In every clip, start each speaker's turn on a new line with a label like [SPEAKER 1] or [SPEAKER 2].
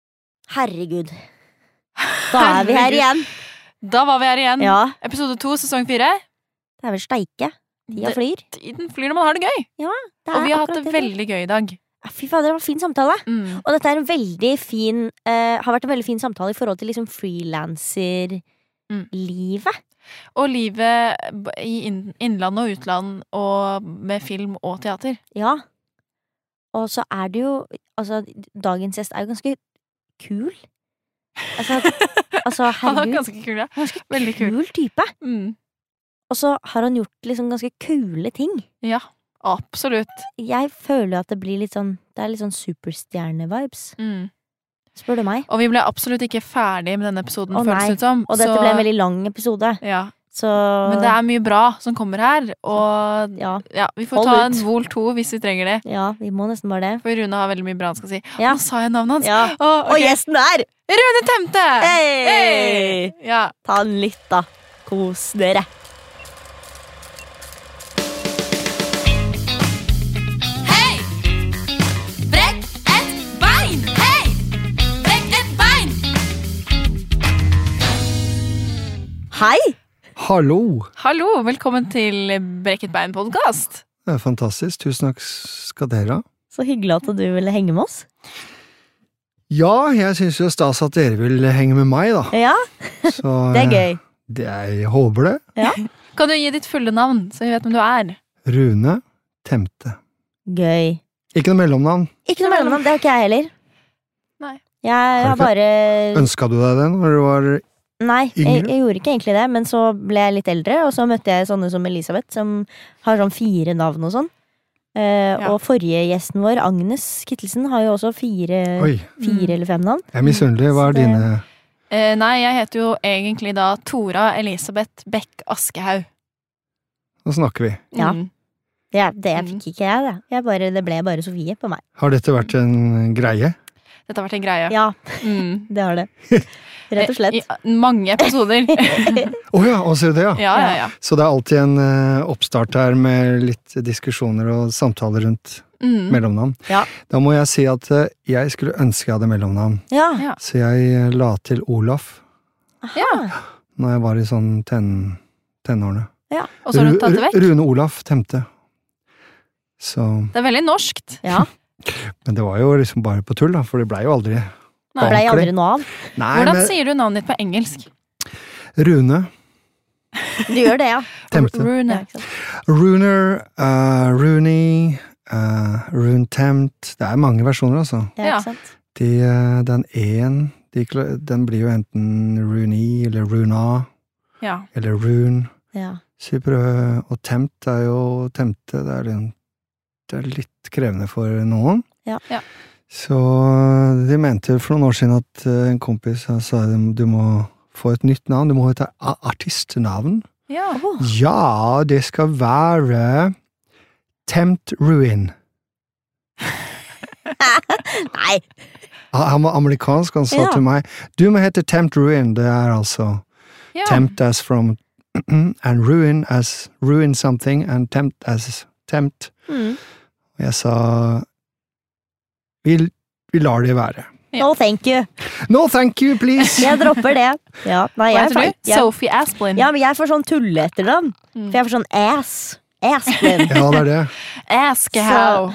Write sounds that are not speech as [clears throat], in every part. [SPEAKER 1] [laughs]
[SPEAKER 2] Herregud. Da er vi her
[SPEAKER 1] Herregud. Mm.
[SPEAKER 2] igjen.
[SPEAKER 1] Da var vi her igjen.
[SPEAKER 2] Ja,
[SPEAKER 1] Episode to, sesong fire.
[SPEAKER 2] det er vel steike. Tida
[SPEAKER 1] Det-
[SPEAKER 2] flyr.
[SPEAKER 1] Tiden flyr når man har det gøy.
[SPEAKER 2] Det
[SPEAKER 1] Og
[SPEAKER 2] er
[SPEAKER 1] vi har hatt
[SPEAKER 2] akkurat
[SPEAKER 1] det
[SPEAKER 2] vi-
[SPEAKER 1] veldig gøy i dag.
[SPEAKER 2] Ja, Fy fader, det var en fin samtale.
[SPEAKER 1] Mm.
[SPEAKER 2] Og dette er en veldig fin, eh, har vært en veldig fin samtale i forhold til liksom
[SPEAKER 1] Mm.
[SPEAKER 2] frilanserlivet.
[SPEAKER 1] Og livet b- i inn- innland og utland og med film og teater. [laughs]
[SPEAKER 2] Ja. Og så er det jo Altså, dagens gjest er jo ganske kul.
[SPEAKER 1] [laughs]
[SPEAKER 2] Altså, altså
[SPEAKER 1] Han var
[SPEAKER 2] herregud.
[SPEAKER 1] ganske kul, ja. Veldig kul.
[SPEAKER 2] Kul type.
[SPEAKER 1] Mm.
[SPEAKER 2] Og så har han gjort liksom ganske kule ting.
[SPEAKER 1] Ja, absolutt.
[SPEAKER 2] Jeg føler at det blir litt sånn Det er litt sånn superstjerne-vibes,
[SPEAKER 1] Mm.
[SPEAKER 2] spør du meg.
[SPEAKER 1] Og vi ble absolutt ikke ferdig med denne episoden,
[SPEAKER 2] Å,
[SPEAKER 1] føles
[SPEAKER 2] nei.
[SPEAKER 1] det ut som.
[SPEAKER 2] Og dette ble en veldig lang episode,
[SPEAKER 1] ja.
[SPEAKER 2] så
[SPEAKER 1] Men det er mye bra som kommer her, og
[SPEAKER 2] ja,
[SPEAKER 1] ja, vi får
[SPEAKER 2] Hold
[SPEAKER 1] ta
[SPEAKER 2] ut.
[SPEAKER 1] en Vol 2 hvis vi trenger det.
[SPEAKER 2] ja, vi må nesten bare det.
[SPEAKER 1] For Rune har veldig mye bra han skal si.
[SPEAKER 2] Ja.
[SPEAKER 1] Nå sa jeg navnet hans!
[SPEAKER 2] Ja.
[SPEAKER 1] Å, ok.
[SPEAKER 2] Og gjesten er
[SPEAKER 1] Rune Temte!
[SPEAKER 2] Hei!
[SPEAKER 1] Hei! Ja.
[SPEAKER 2] Ta den litt, da. Kos dere.
[SPEAKER 3] Brekk et bein! Hei! Brekk et bein!
[SPEAKER 2] Hei!
[SPEAKER 4] Hallo!
[SPEAKER 1] Hallo, velkommen til Brekket bein-podkast.
[SPEAKER 4] Det er fantastisk. Tusen takk skal dere ha.
[SPEAKER 2] Så hyggelig at du ville henge med oss.
[SPEAKER 4] Ja, jeg syns jo stas at dere vil henge med meg, [laughs] da.
[SPEAKER 2] Ja,
[SPEAKER 4] Så, eh,
[SPEAKER 2] det er gøy.
[SPEAKER 4] det er- jeg håper det.
[SPEAKER 1] Kan du gi ditt fulle navn, så vi vet hvem du er?
[SPEAKER 4] Rune Temte.
[SPEAKER 2] Gøy.
[SPEAKER 4] Ikke noe mellomnavn.
[SPEAKER 2] Ikke noe mellomnavn. Det har ikke jeg heller.
[SPEAKER 1] Nei.
[SPEAKER 2] Jeg har
[SPEAKER 4] Har
[SPEAKER 2] bare
[SPEAKER 4] Ønska du deg det når du var
[SPEAKER 2] Nei, jeg,
[SPEAKER 4] Yngre?
[SPEAKER 2] jeg gjorde ikke egentlig det, men så ble jeg litt eldre, og så møtte jeg sånne som Elisabeth, som har sånn fire navn og sånn. Eh,
[SPEAKER 1] Ja.
[SPEAKER 2] Og forrige gjesten vår, Agnes Kittelsen, har jo også fire,
[SPEAKER 4] Oi,
[SPEAKER 2] fire
[SPEAKER 1] Mm.
[SPEAKER 2] eller fem navn.
[SPEAKER 4] jeg er misunnelig. Hva er
[SPEAKER 2] Det-
[SPEAKER 4] dine
[SPEAKER 1] Eh, nei, jeg heter jo egentlig da Tora Elisabeth Bech Askehaug.
[SPEAKER 4] Nå snakker vi.
[SPEAKER 2] Ja.
[SPEAKER 1] Mm.
[SPEAKER 2] Det, det
[SPEAKER 1] Mm.
[SPEAKER 2] fikk ikke jeg, det. Jeg bare, det ble bare Sofie på meg.
[SPEAKER 4] Har dette vært en greie?
[SPEAKER 1] Dette har vært en greie.
[SPEAKER 2] Ja,
[SPEAKER 1] Mm. Eh,
[SPEAKER 2] det har det. Rett og slett.
[SPEAKER 1] I- I mange
[SPEAKER 2] [laughs]
[SPEAKER 1] episoder.
[SPEAKER 4] Å ja, å, ser du det, ja.
[SPEAKER 1] ja, ja, ja.
[SPEAKER 4] Så det er alltid en eh, oppstart her med litt diskusjoner og samtaler rundt
[SPEAKER 1] Mm.
[SPEAKER 4] mellomnavn.
[SPEAKER 2] Ja.
[SPEAKER 4] Da må jeg si at eh, jeg skulle ønske jeg hadde mellomnavn,
[SPEAKER 2] Ja.
[SPEAKER 1] Ja.
[SPEAKER 4] så jeg eh, la til Olaf.
[SPEAKER 1] ja.
[SPEAKER 4] når jeg var i sånn ten, tenårene.
[SPEAKER 1] Og så har hun tatt det
[SPEAKER 4] Ru-
[SPEAKER 1] vekk.
[SPEAKER 4] Rune Olaf Temte. Så,
[SPEAKER 1] Det er veldig norskt.
[SPEAKER 2] ja.
[SPEAKER 4] men det var jo liksom bare på tull, da, for det blei jo aldri
[SPEAKER 2] Det blei
[SPEAKER 4] ordentlig.
[SPEAKER 2] aldri noe av.
[SPEAKER 4] Nei,
[SPEAKER 1] Hvordan
[SPEAKER 4] men
[SPEAKER 1] sier du navnet ditt på engelsk?
[SPEAKER 4] Rune
[SPEAKER 2] Du gjør det, ja.
[SPEAKER 4] Temte.
[SPEAKER 2] [laughs] ja
[SPEAKER 1] Rune.
[SPEAKER 2] ikke sant?
[SPEAKER 4] Runer, uh, Rooney, uh, Rune Tempt Det er mange versjoner, altså.
[SPEAKER 2] Ja,
[SPEAKER 1] Ja.
[SPEAKER 2] ikke sant?
[SPEAKER 4] De, eh, den én de, kla- Den blir jo enten Rooney eller Runa
[SPEAKER 1] Ja.
[SPEAKER 4] eller Rune.
[SPEAKER 2] Ja.
[SPEAKER 4] Så vi prøver, øh, og tempt er jo temte, det er, litt, det er litt krevende for noen.
[SPEAKER 2] Ja.
[SPEAKER 1] Ja.
[SPEAKER 4] Så øh, de mente for noen år siden at eh, en kompis han sa du må få et nytt navn, du må hete a- artistnavn.
[SPEAKER 1] ja.
[SPEAKER 2] Åh,
[SPEAKER 4] Ja, det skal være Tempt Ruin.
[SPEAKER 2] Nei!
[SPEAKER 4] Han han var amerikansk, han sa
[SPEAKER 2] Ja.
[SPEAKER 4] til meg du må hete Tempt Ruin, det er altså
[SPEAKER 1] ja.
[SPEAKER 4] tempt as from [clears throat] and ruin as ruin something and tempt as tempt.
[SPEAKER 2] Mm.
[SPEAKER 4] Og jeg sa vi, vi lar det være.
[SPEAKER 2] No thank you.
[SPEAKER 4] No thank you,
[SPEAKER 2] [laughs]
[SPEAKER 4] please!
[SPEAKER 2] Jeg dropper det. Ja. Nei,
[SPEAKER 1] Hva
[SPEAKER 2] jeg,
[SPEAKER 1] heter du?
[SPEAKER 2] jeg,
[SPEAKER 1] Sophie Asplin.
[SPEAKER 2] Ja, men jeg får sånn tulleetternavn.
[SPEAKER 1] Mm.
[SPEAKER 2] For jeg får sånn ass. [laughs] Aspen.
[SPEAKER 4] Ja, det er det.
[SPEAKER 1] Askehaug.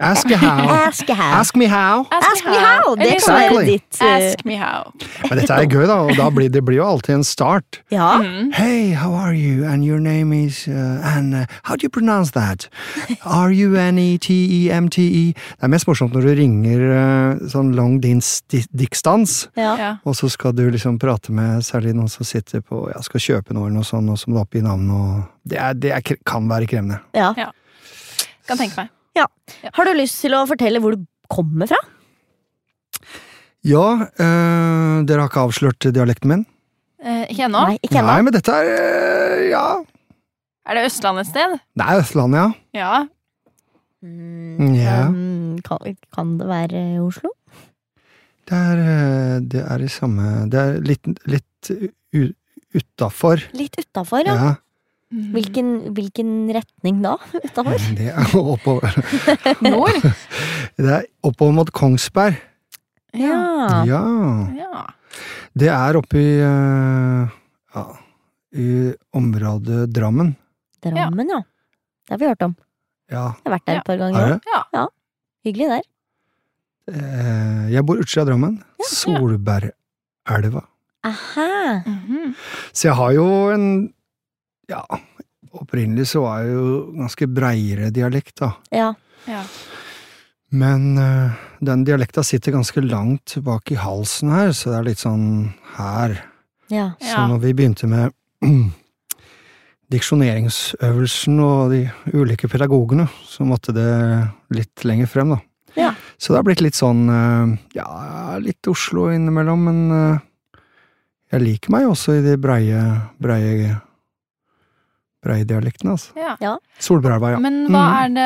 [SPEAKER 4] Ask me
[SPEAKER 2] [laughs]
[SPEAKER 4] how.
[SPEAKER 2] Ask how.
[SPEAKER 4] Ask me how.
[SPEAKER 2] Ask me how! Det kan
[SPEAKER 1] Eller
[SPEAKER 2] være
[SPEAKER 4] Exactly.
[SPEAKER 2] ditt
[SPEAKER 1] sånn,
[SPEAKER 2] eh,
[SPEAKER 1] Ask me how.
[SPEAKER 4] Men dette er gøy, da. Og da blir, det blir jo alltid en start.
[SPEAKER 2] Ja.
[SPEAKER 1] Mm.
[SPEAKER 4] Hey, how are you? And your name is uh, And uh, how do you pronounce that? E R-U-N-E-T-E-M-T-E. E." Det er mest morsomt når du ringer uh, sånn long dins di- diktstans.
[SPEAKER 2] ja.
[SPEAKER 1] Ja.
[SPEAKER 4] Og så skal du liksom prate med særlig noen som sitter på ja, skal kjøpe noe eller noe sånt, og så må du oppgi navn og Det, er, det er, kre- kan være krevende.
[SPEAKER 2] ja.
[SPEAKER 1] Kan tenke meg.
[SPEAKER 2] Har du lyst til å fortelle hvor du kommer fra?
[SPEAKER 4] Ja, eh, dere har ikke avslørt dialekten min?
[SPEAKER 1] Eh, ikke ennå.
[SPEAKER 2] Nei, ikke
[SPEAKER 4] Nei,
[SPEAKER 2] ennå.
[SPEAKER 4] men dette er eh, Ja.
[SPEAKER 1] Er det Østlandet et sted?
[SPEAKER 4] Det er Østlandet,
[SPEAKER 1] Ja.
[SPEAKER 2] Mm,
[SPEAKER 4] ja. ja.
[SPEAKER 2] um, Kan, kan det være Oslo?
[SPEAKER 4] Det er, eh, det er i samme Det er litt, litt u- utafor.
[SPEAKER 2] Litt utafor, ja.
[SPEAKER 4] Ja.
[SPEAKER 2] Hvilken, hvilken retning da? [laughs] Utafor?
[SPEAKER 4] Det er [laughs] oppover.
[SPEAKER 1] Nord?
[SPEAKER 4] Det er oppover mot Kongsberg.
[SPEAKER 2] Ja.
[SPEAKER 4] Ja.
[SPEAKER 1] Ja.
[SPEAKER 4] Det er oppe i eh, ja, i området Drammen.
[SPEAKER 2] Drammen, ja. Det har vi hørt om.
[SPEAKER 4] Ja.
[SPEAKER 2] Jeg har vært der
[SPEAKER 1] Ja.
[SPEAKER 2] et par ganger.
[SPEAKER 4] Er
[SPEAKER 2] også.
[SPEAKER 4] det?
[SPEAKER 1] ja.
[SPEAKER 2] Hyggelig der.
[SPEAKER 4] Eh, Jeg bor utsida av Drammen. Solbergelva.
[SPEAKER 2] Aha.
[SPEAKER 1] Mhm.
[SPEAKER 4] Så jeg har jo en Ja, opprinnelig så var jeg jo ganske breiere dialekt, da.
[SPEAKER 2] Ja.
[SPEAKER 1] ja.
[SPEAKER 4] Men eh, den dialekta sitter ganske langt tilbake i halsen her, så det er litt sånn her.
[SPEAKER 2] ja.
[SPEAKER 4] Så når vi begynte med [clears throat] diksjoneringsøvelsen og de ulike pedagogene, så måtte det litt lenger frem, da.
[SPEAKER 2] Ja.
[SPEAKER 4] Så det har blitt litt sånn eh, ja, litt Oslo innimellom, men eh, jeg liker meg også i de breie, breie, breie dialektene, altså.
[SPEAKER 1] ja.
[SPEAKER 4] Solbergelva, ja.
[SPEAKER 1] Men hva
[SPEAKER 2] Mm.
[SPEAKER 1] er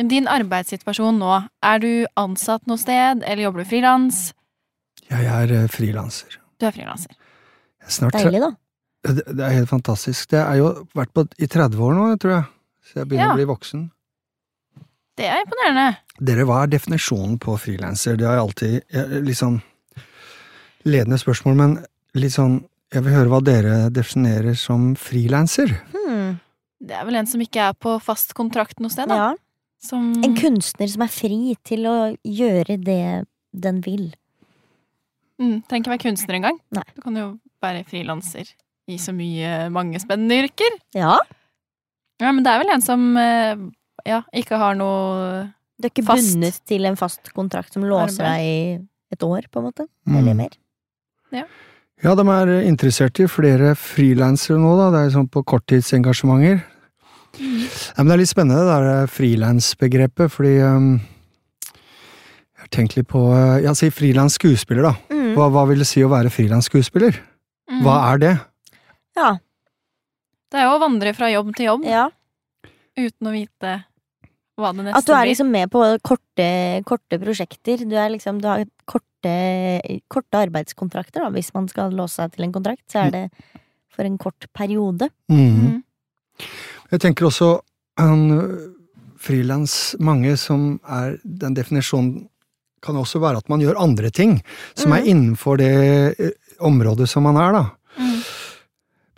[SPEAKER 1] det din arbeidssituasjon nå? Er du ansatt noe sted, eller jobber du frilans?
[SPEAKER 4] Jeg er eh, frilanser.
[SPEAKER 1] Du er frilanser.
[SPEAKER 4] Jeg er Snart
[SPEAKER 2] Deilig, da.
[SPEAKER 4] Det, det er helt fantastisk. Det er jo vært på, i 30 år nå, tror jeg. Så jeg begynner
[SPEAKER 1] Ja.
[SPEAKER 4] å bli voksen.
[SPEAKER 1] Det er imponerende.
[SPEAKER 4] Dere, hva er definisjonen på frilanser? Det har jeg alltid jeg, litt sånn ledende spørsmål, men litt sånn Jeg vil høre hva dere definerer som frilanser.
[SPEAKER 2] Hmm.
[SPEAKER 1] Det er vel en som ikke er på fast kontrakt noe sted, da. Mhm.
[SPEAKER 2] Ja.
[SPEAKER 1] Som
[SPEAKER 2] En kunstner som er fri til å gjøre det den vil.
[SPEAKER 1] mm, trenger ikke være kunstner engang.
[SPEAKER 2] Nei.
[SPEAKER 1] Du kan jo være frilanser i så mye mange spennende yrker.
[SPEAKER 2] Ja.
[SPEAKER 1] Ja, men det er vel en som eh, ja, ikke har noe
[SPEAKER 2] Du er ikke
[SPEAKER 1] Fast.
[SPEAKER 2] bundet til en fast kontrakt som låser deg
[SPEAKER 1] Arbeid.
[SPEAKER 2] i et år, på en måte. Eller
[SPEAKER 4] Mm.
[SPEAKER 2] mer.
[SPEAKER 4] Ja, de er interessert i flere frilansere nå, da. Det er sånn på korttidsengasjementer. Ja, men det er litt spennende, det der frilansbegrepet, fordi um, Jeg har tenkt litt på eh, Ja, si frilans skuespiller, da.
[SPEAKER 2] Mm.
[SPEAKER 4] Hva, hva vil det si å være frilans skuespiller?
[SPEAKER 1] Mm.
[SPEAKER 4] Hva er det?
[SPEAKER 2] Ja.
[SPEAKER 1] Det er jo å vandre fra jobb til jobb
[SPEAKER 2] ja.
[SPEAKER 1] uten å vite hva det neste
[SPEAKER 2] At du er
[SPEAKER 1] blir.
[SPEAKER 2] liksom med på korte, korte prosjekter. Du, er liksom, du har korte, korte arbeidskontrakter, da, hvis man skal låse seg til en kontrakt. Så er det for en kort periode.
[SPEAKER 4] Mhm.
[SPEAKER 1] Mm.
[SPEAKER 4] Jeg tenker også um, frilans Mange som er Den definisjonen kan også være at man gjør andre ting som er innenfor det eh, området som man er, da.
[SPEAKER 1] Mm.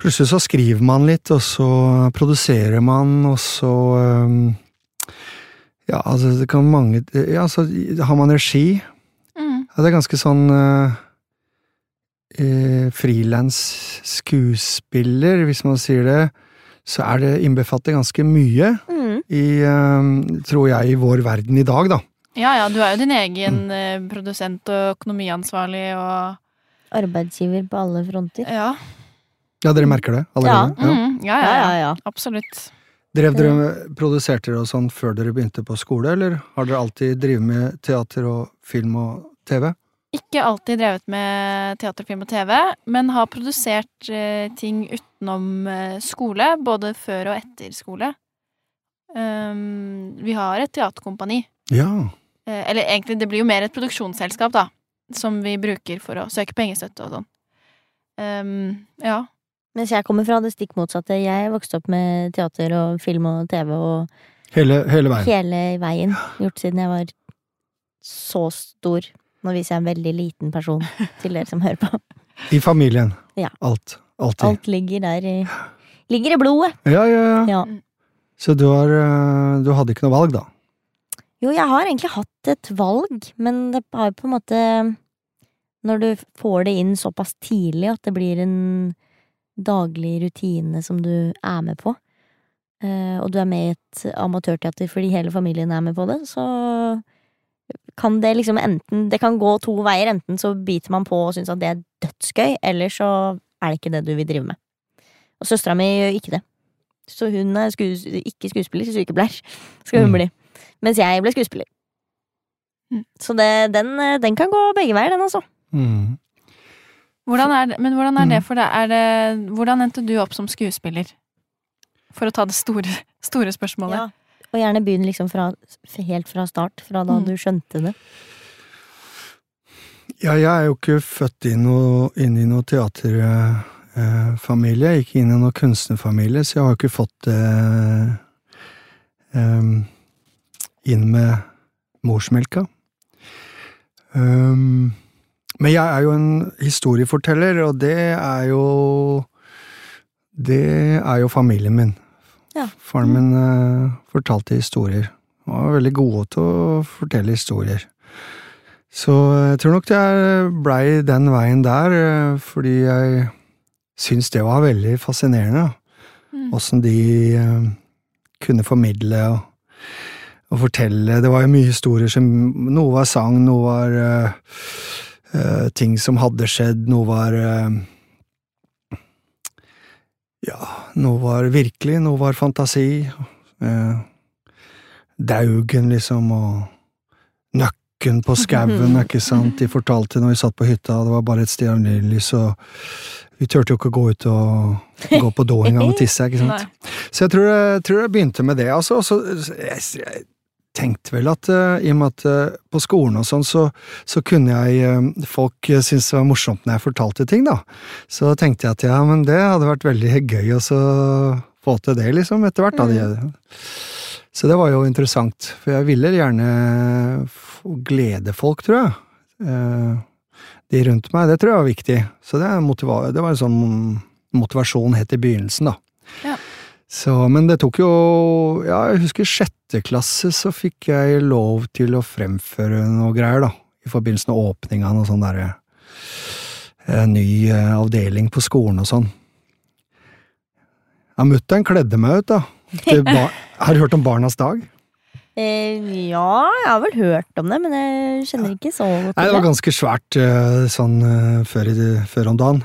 [SPEAKER 4] Plutselig så skriver man litt, og så produserer man, og så um, Ja, altså, det kan mange Ja, så har man regi.
[SPEAKER 1] Mm.
[SPEAKER 4] Ja, det er ganske sånn uh, Frilans skuespiller, hvis man sier det, så er det innbefatter ganske mye
[SPEAKER 2] Mm.
[SPEAKER 4] i eh, Tror jeg, i vår verden i dag, da.
[SPEAKER 1] Ja ja, du er jo din egen eh, produsent og økonomiansvarlig og
[SPEAKER 2] Arbeidsgiver på alle fronter.
[SPEAKER 1] Ja.
[SPEAKER 4] Ja, dere merker det allerede? Ja.
[SPEAKER 1] Mm. Ja, ja, ja. Absolutt.
[SPEAKER 4] Drev dere med- Produserte dere og sånn før dere begynte på skole, eller har dere alltid drevet med teater og film og TV?
[SPEAKER 1] Ikke alltid drevet med teater, film og TV, men har produsert eh, ting utenom eh, skole, både før og etter skole. Um, vi har et teaterkompani.
[SPEAKER 4] Ja.
[SPEAKER 1] Eh, eller egentlig, det blir jo mer et produksjonsselskap, da. Som vi bruker for å søke pengestøtte og sånn. Um, ja.
[SPEAKER 2] Mens jeg kommer fra det stikk motsatte. Jeg vokste opp med teater og film og TV og
[SPEAKER 4] Hele, hele veien.
[SPEAKER 2] hele veien. Gjort siden jeg var så stor. Nå viser jeg en veldig liten person til dere som hører på.
[SPEAKER 4] I familien.
[SPEAKER 2] Ja.
[SPEAKER 4] Alt. Alltid.
[SPEAKER 2] Alt ligger der i Ligger i blodet!
[SPEAKER 4] Ja, ja, ja.
[SPEAKER 2] Ja.
[SPEAKER 4] Så du har eh, Du hadde ikke noe valg, da?
[SPEAKER 2] Jo, jeg har egentlig hatt et valg, men det har jo på en måte Når du får det inn såpass tidlig at det blir en daglig rutine som du er med på, eh, og du er med i et amatørteater fordi hele familien er med på det, så kan det liksom enten Det kan gå to veier. Enten så biter man på og syns at det er dødsgøy, eller så er det ikke det du vil drive med. Og søstera mi gjør ikke det. Så hun er skues ikke skuespiller, sykepleier [laughs] skal hun
[SPEAKER 4] Mm.
[SPEAKER 2] bli. Mens jeg ble skuespiller.
[SPEAKER 1] Mm.
[SPEAKER 2] Så det, den, eh, den kan gå begge veier, den altså.
[SPEAKER 4] Mm.
[SPEAKER 1] Hvordan er, det- men hvordan er
[SPEAKER 4] Mm.
[SPEAKER 1] det for deg? Er det, hvordan endte du opp som skuespiller? For å ta det store, store spørsmålet.
[SPEAKER 2] Og gjerne begynn liksom fra, f- helt fra start, fra da
[SPEAKER 1] Mm.
[SPEAKER 2] du skjønte det.
[SPEAKER 4] Ja, jeg er jo ikke født inn, noe, inn i noe teaterfamilie. Jeg gikk inn i noen kunstnerfamilie, så jeg har jo ikke fått eh, det em, inn med morsmelka. Em, Um, Men jeg er jo en historieforteller, og det er jo Det er jo familien min.
[SPEAKER 2] Ja.
[SPEAKER 4] Faren min eh, fortalte historier. Han var veldig gode til å fortelle historier. Så jeg tror nok jeg blei den veien der, eh, fordi jeg syns det var veldig fascinerende.
[SPEAKER 1] Mm.
[SPEAKER 4] Åssen de eh, kunne formidle og, og fortelle. Det var jo mye historier som Noe var sang, noe var eh, eh, ting som hadde skjedd, noe var eh, Ja, noe var virkelig, noe var fantasi. Eh, Daugen, liksom, og Nøkken på skauen, ikke sant. De fortalte når vi satt på hytta, det var bare et stearinlys, og vi turte jo ikke gå ut og gå på do engang og tisse, ikke sant.
[SPEAKER 1] Nei.
[SPEAKER 4] Så jeg tror jeg, tror jeg begynte med det, altså. Og så, jeg, jeg tenkte vel at eh, i og med at eh, på skolen og sånn, så, så kunne jeg eh, Folk eh, syntes det var morsomt når jeg fortalte ting, da. Så tenkte jeg at ja, men det hadde vært veldig gøy å så få til det, liksom, etter hvert. da. Det- Så det var jo interessant, for jeg ville gjerne få glede folk, tror jeg. Eh, De rundt meg, det tror jeg var viktig. Så det, er motiva det var en sånn motivasjon helt i begynnelsen, da. Så, men det tok jo Ja, jeg husker sjette klasse så fikk jeg lov til å fremføre noe greier, da. I forbindelse med åpninga av noe sånn derre eh, Ny eh, avdeling på skolen og sånn. Ja, mutter'n kledde meg ut, da. Til bar Har du hørt om Barnas dag?
[SPEAKER 2] Eh, ja, jeg har vel hørt om det, men jeg kjenner ikke så godt
[SPEAKER 4] Nei, det
[SPEAKER 2] til
[SPEAKER 4] var ganske svært eh, sånn eh, før, i- før om dagen.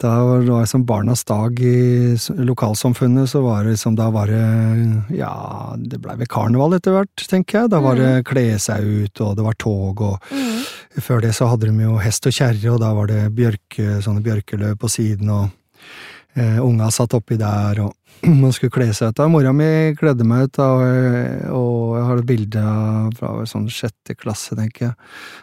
[SPEAKER 4] Da var det liksom Barnas dag i s- lokalsamfunnet, så var det liksom, da var det Ja, det blei vel karneval etter hvert, tenker jeg. Da var det kle seg ut, og det var tog, og
[SPEAKER 2] Mm.
[SPEAKER 4] før det så hadde de jo hest og kjerre, og da var det bjørke, sånne bjørkeløv på siden, og eh, unga satt oppi der, og [clears throat] man skulle kle seg ut. Da mora mi kledde meg ut, da, og, og jeg har et bilde av- fra sånn sjette klasse, tenker jeg.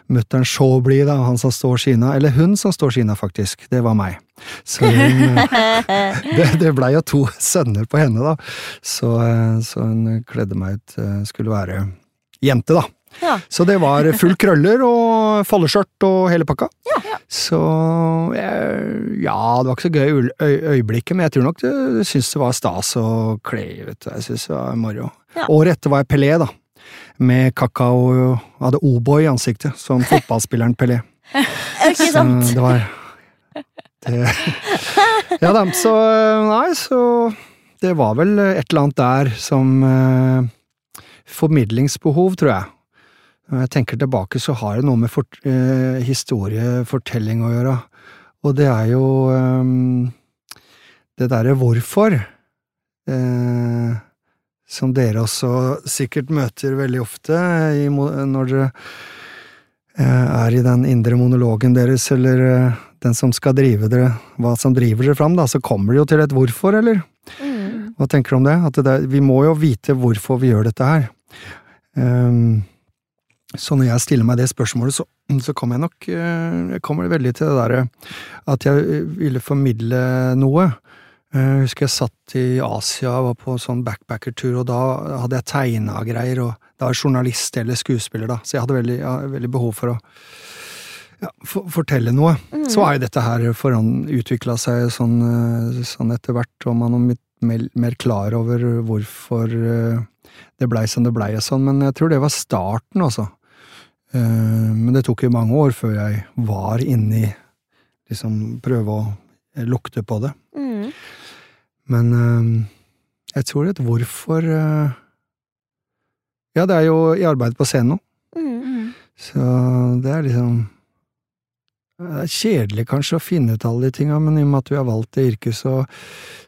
[SPEAKER 4] Mutter'n så blid, da, han som står skina, eller hun som står skina, faktisk, det var meg. Så hun, eh,
[SPEAKER 2] [laughs]
[SPEAKER 4] det, det blei jo to [laughs] sønner på henne, da, så, eh, så hun kledde meg ut, eh, skulle være jente, da.
[SPEAKER 2] Ja.
[SPEAKER 4] Så det var full krøller og foldeskjørt og hele pakka. Så eh, ja, det var ikke så gøy i øl- øy- øyeblikket, men jeg tror nok du syntes det var stas å kle ut. Jeg synes det var moro.
[SPEAKER 2] Ja.
[SPEAKER 4] Året etter var jeg Pelé, da. Med kakao Hadde O'boy i ansiktet,
[SPEAKER 2] [laughs]
[SPEAKER 4] som fotballspilleren Pelé.
[SPEAKER 2] Ikke
[SPEAKER 4] Så
[SPEAKER 2] sant?
[SPEAKER 4] Eh, det var det. [laughs] Ja da, så eh, Nei, så Det var vel et eller annet der som eh, Formidlingsbehov, tror jeg. Når jeg tenker tilbake, så har det noe med fort, eh, historiefortelling å gjøre. Og det er jo eh, det derre hvorfor, eh, som dere også sikkert møter veldig ofte i, mo- når dere eh, er i den indre monologen deres, eller eh, den som skal drive dere, hva som driver dere fram, da, så kommer det jo til et hvorfor, eller?
[SPEAKER 2] Mm.
[SPEAKER 4] Hva tenker du om det? At det der, vi må jo vite hvorfor vi gjør dette her. Ehm, så når jeg stiller meg det spørsmålet, så, så kommer jeg nok eh, jeg kommer veldig til det derre at jeg eh, ville formidle noe. Jeg husker jeg satt i Asia og var på sånn backpackertur, og da hadde jeg tegna greier, og da var jeg journalist eller skuespiller, da, så jeg hadde veldig, ja, veldig behov for å ja, for, fortelle noe.
[SPEAKER 2] Mm.
[SPEAKER 4] Så har jo dette her foran utvikla seg sånn, eh, sånn etter hvert, og man er litt mer, mer klar over hvorfor eh, det blei som det blei og sånn, men jeg tror det var starten, altså. Eh, Men det tok jo mange år før jeg var inni liksom prøve å eh, lukte på det.
[SPEAKER 2] Mm.
[SPEAKER 4] Men eh, jeg tror et hvorfor eh, Ja, det er jo i arbeid på scenen nå.
[SPEAKER 2] Mm.
[SPEAKER 1] Mm.
[SPEAKER 4] Så det er liksom Det er kjedelig kanskje å finne ut alle de tinga, men i og med at vi har valgt det yrket, så,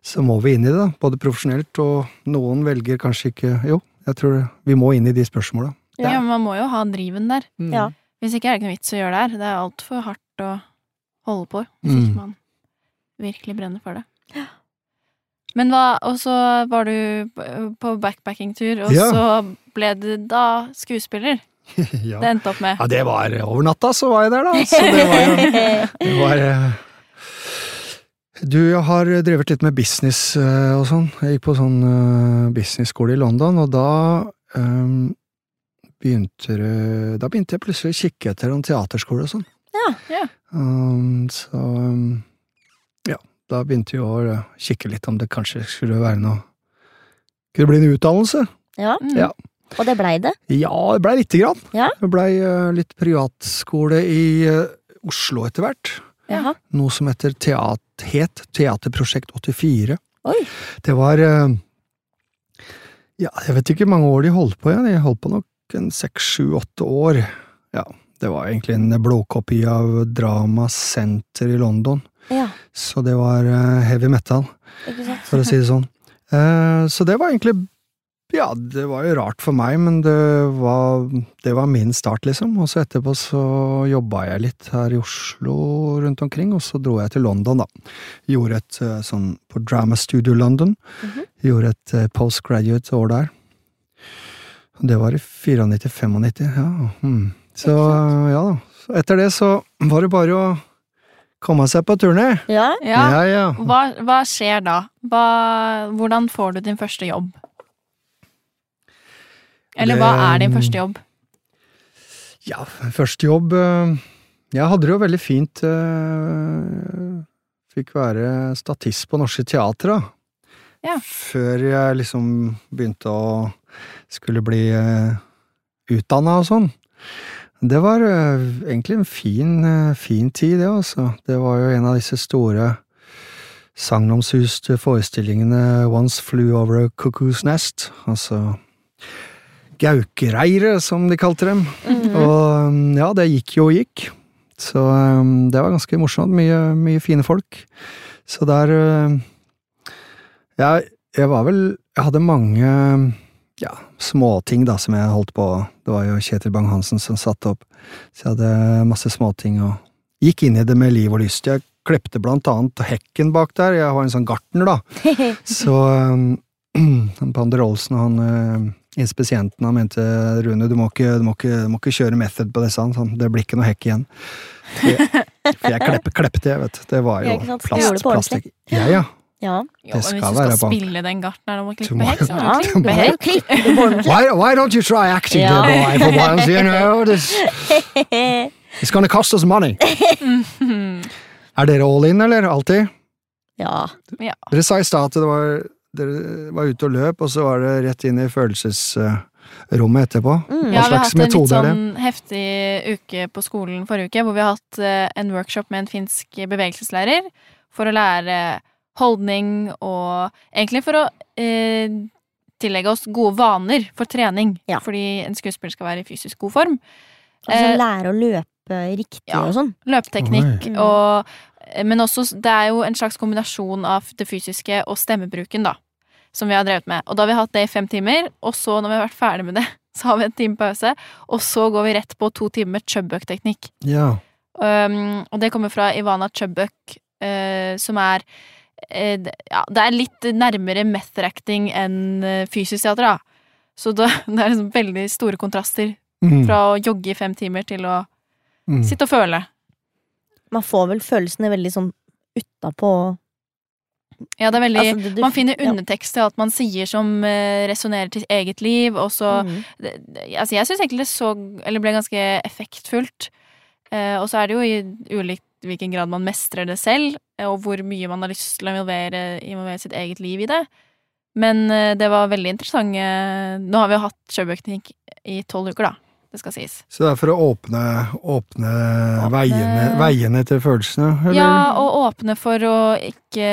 [SPEAKER 4] så må vi inn i det, da. Både profesjonelt, og noen velger kanskje ikke Jo, jeg tror det. vi må inn i de spørsmåla.
[SPEAKER 1] Ja, men man må jo ha driven der.
[SPEAKER 2] Ja.
[SPEAKER 1] Hvis ikke er det ikke noe vits å gjøre det her. Det er altfor hardt å holde på hvis
[SPEAKER 4] Mm.
[SPEAKER 1] ikke man virkelig brenner for det. Men hva, og så var du b- på backpackingtur, og
[SPEAKER 4] Ja.
[SPEAKER 1] så ble du da skuespiller.
[SPEAKER 4] [laughs] ja.
[SPEAKER 1] Det endte opp med.
[SPEAKER 4] ja, det var over natta, så var jeg der, da. Så det var jo det var eh, Du har drevet litt med business eh, og sånn. Jeg gikk på sånn eh, businessskole i London, og da eh, begynte det- Da begynte jeg plutselig å kikke etter en teaterskole og sånn.
[SPEAKER 2] Ja.
[SPEAKER 1] Ja.
[SPEAKER 4] Um, så um, ja, da begynte vi å eh, kikke litt om det kanskje skulle være noe Kunne bli en utdannelse.
[SPEAKER 2] [laughs] Ja,
[SPEAKER 1] Mm.
[SPEAKER 4] Ja.
[SPEAKER 2] Og det blei det.
[SPEAKER 4] Ja, det blei lite grann.
[SPEAKER 2] Ja.
[SPEAKER 4] Det blei eh, litt privatskole i eh, Oslo etter hvert.
[SPEAKER 2] Jaha.
[SPEAKER 4] Noe som heter teat, het Teaterprosjekt 84.
[SPEAKER 2] Oi.
[SPEAKER 4] Det var eh, Ja, jeg vet ikke hvor mange år de holdt på igjen. De holdt på nok en seks, sju, åtte år. Ja, det var egentlig en blåkopi av Drama Center i London.
[SPEAKER 2] Ja,
[SPEAKER 4] Så det var eh, heavy metal,
[SPEAKER 2] ikke sant.
[SPEAKER 4] for å si det sånn. Eh, så det var egentlig Ja, det var jo rart for meg, men det var, det var min start, liksom. Og så etterpå så jobba jeg litt her i Oslo rundt omkring, og så dro jeg til London, da. Gjorde et eh, sånn på Drama Studio London.
[SPEAKER 2] Mhm.
[SPEAKER 4] Gjorde et eh, postgraduate år der. Og Det var i 94-95, ja. Hmm. Så ja da. Så etter det så var det bare å komme seg på turné.
[SPEAKER 2] Ja,
[SPEAKER 1] Ja.
[SPEAKER 4] ja. ja.
[SPEAKER 1] Hva, hva skjer da? Hva, hvordan får du din første jobb? Eller hva
[SPEAKER 4] Det- mm,
[SPEAKER 1] er din første jobb?
[SPEAKER 4] Ja, første jobb eh, Jeg hadde det jo veldig fint. eh, Fikk være statist på Norske Teatre, da.
[SPEAKER 1] Ja.
[SPEAKER 4] Før jeg liksom begynte å skulle bli utdanna og sånn. Det var eh, egentlig en fin, eh, fin tid, det, altså. Det var jo en av disse store sagnomsuste forestillingene Once Flew Over a Cuckoo's Nest. Altså gaukereire, som de kalte dem. Og um, ja, det gikk jo og gikk. Så um, det var ganske morsomt. Mye, mye fine folk. Så der uh, jeg, jeg var vel Jeg hadde mange um, ja, småting da som jeg holdt på Det var jo Kjetil Bang-Hansen som satte opp. Så jeg hadde masse småting og gikk inn i det med liv og lyst. Jeg klepte blant annet hekken bak der. Jeg har en sånn gartner, da. Så [clears throat] um, han Pander Olsen, han eh, inspisienten, han mente Rune, du må ikke, du må ikke, du må ikke kjøre method på disse, han. Sånn, det blir ikke noe hekk igjen. For jeg, for jeg kleppe, klepte, jeg, vet du. Det var
[SPEAKER 2] Ja,
[SPEAKER 4] jo
[SPEAKER 2] ikke sant? Gjorde det
[SPEAKER 4] plast,
[SPEAKER 2] på
[SPEAKER 4] plastikk. Ja, ja.
[SPEAKER 2] ja.
[SPEAKER 1] Jo, men
[SPEAKER 4] skal
[SPEAKER 1] hvis du
[SPEAKER 4] være
[SPEAKER 1] skal
[SPEAKER 4] bak.
[SPEAKER 1] spille den gartneren om å
[SPEAKER 4] Du
[SPEAKER 1] klippe
[SPEAKER 4] må-
[SPEAKER 1] hekk, så
[SPEAKER 2] ja.
[SPEAKER 1] må
[SPEAKER 2] Du
[SPEAKER 1] du klippe
[SPEAKER 2] må jo
[SPEAKER 1] hekk.
[SPEAKER 2] [laughs] klippe du må jo
[SPEAKER 4] Why, why don't you try acting,
[SPEAKER 2] Ja.
[SPEAKER 4] dear boy, for once, you know? This,
[SPEAKER 2] klippe.
[SPEAKER 4] it's gonna cost us money.
[SPEAKER 1] [laughs]
[SPEAKER 4] Er dere all in, eller? Alltid?
[SPEAKER 2] [laughs] Ja.
[SPEAKER 4] Dere sa i stad at det var, dere var ute og løp, og så var det rett inn i følelsesrommet etterpå.
[SPEAKER 2] Mm.
[SPEAKER 1] Ja, vi har
[SPEAKER 4] slags
[SPEAKER 1] hatt en litt
[SPEAKER 4] metode er det?
[SPEAKER 1] sånn heftig uke på skolen forrige uke, hvor vi har hatt eh, en workshop med en finsk bevegelseslærer for å lære holdning og egentlig for å eh, tillegge oss gode vaner for trening.
[SPEAKER 2] Ja.
[SPEAKER 1] Fordi en skuespiller skal være i fysisk god form.
[SPEAKER 2] Altså
[SPEAKER 1] Eh,
[SPEAKER 2] lære å løpe riktig
[SPEAKER 1] ja.
[SPEAKER 2] og sånn.
[SPEAKER 1] løpeteknikk
[SPEAKER 2] Oi.
[SPEAKER 1] og Men også det er jo en slags kombinasjon av det fysiske og stemmebruken, da. Som vi har drevet med. Og da har vi hatt det i fem timer, og så når vi har vært ferdig med det, [laughs] så har vi en time pause, og så går vi rett på to timer med chubbøk-teknikk.
[SPEAKER 4] Ja.
[SPEAKER 1] Um, og det kommer fra Ivana Chubbøk, eh, som er eh, d- ja, Det er litt nærmere method acting enn eh, fysisk teater, da. Så da, [laughs] det er liksom veldig store kontraster
[SPEAKER 4] Mm,
[SPEAKER 1] fra å jogge i fem timer til å
[SPEAKER 4] mm.
[SPEAKER 1] sitte og føle.
[SPEAKER 2] Man får vel følelsene veldig sånn utapå
[SPEAKER 1] Ja, det er veldig
[SPEAKER 2] altså, det- du-
[SPEAKER 1] Man finner
[SPEAKER 2] ja.
[SPEAKER 1] undertekst til alt man sier som uh, resonnerer til eget liv, og så
[SPEAKER 2] Mm.
[SPEAKER 1] det, det, Altså, jeg syns egentlig det så Eller ble ganske effektfullt. Eh, og så er det jo i ulikt hvilken grad man mestrer det selv, eh, og hvor mye man har lyst til å involvere, involvere sitt eget liv i det. Men eh, det var veldig interessant. eh, nå har vi jo hatt sjøbøkteknikk i tolv uker, da. Det skal sies.
[SPEAKER 4] Så det er for å åpne, åpne, Veiene, veiene til følelsene? Eller?
[SPEAKER 1] Ja, og åpne for å ikke,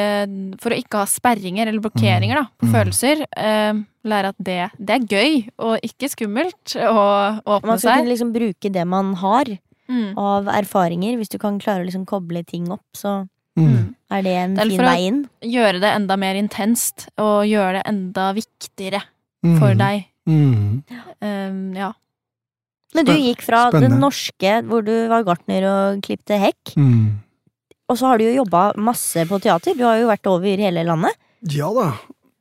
[SPEAKER 1] for å ikke ha sperringer eller blokkeringer da, på
[SPEAKER 4] Mm.
[SPEAKER 1] følelser. Eh, lære at det, det er gøy og ikke skummelt å åpne
[SPEAKER 2] Man skal
[SPEAKER 1] seg.
[SPEAKER 2] kunne liksom bruke det man har
[SPEAKER 1] Mm.
[SPEAKER 2] av erfaringer. Hvis du kan klare å liksom koble ting opp, så
[SPEAKER 4] Mm.
[SPEAKER 2] er det en
[SPEAKER 1] Det er
[SPEAKER 2] fin
[SPEAKER 1] for å-
[SPEAKER 2] vei inn.
[SPEAKER 1] Gjøre det enda mer intenst, og gjøre det enda viktigere
[SPEAKER 4] Mm.
[SPEAKER 1] for deg.
[SPEAKER 4] Mm.
[SPEAKER 1] Eh, ja.
[SPEAKER 2] Men du gikk fra det
[SPEAKER 4] Spennende.
[SPEAKER 2] norske, hvor du var gartner og klipte hekk,
[SPEAKER 4] Mm.
[SPEAKER 2] og så har du jo jobba masse på teater. Du har jo vært over hele landet.
[SPEAKER 4] Ja da.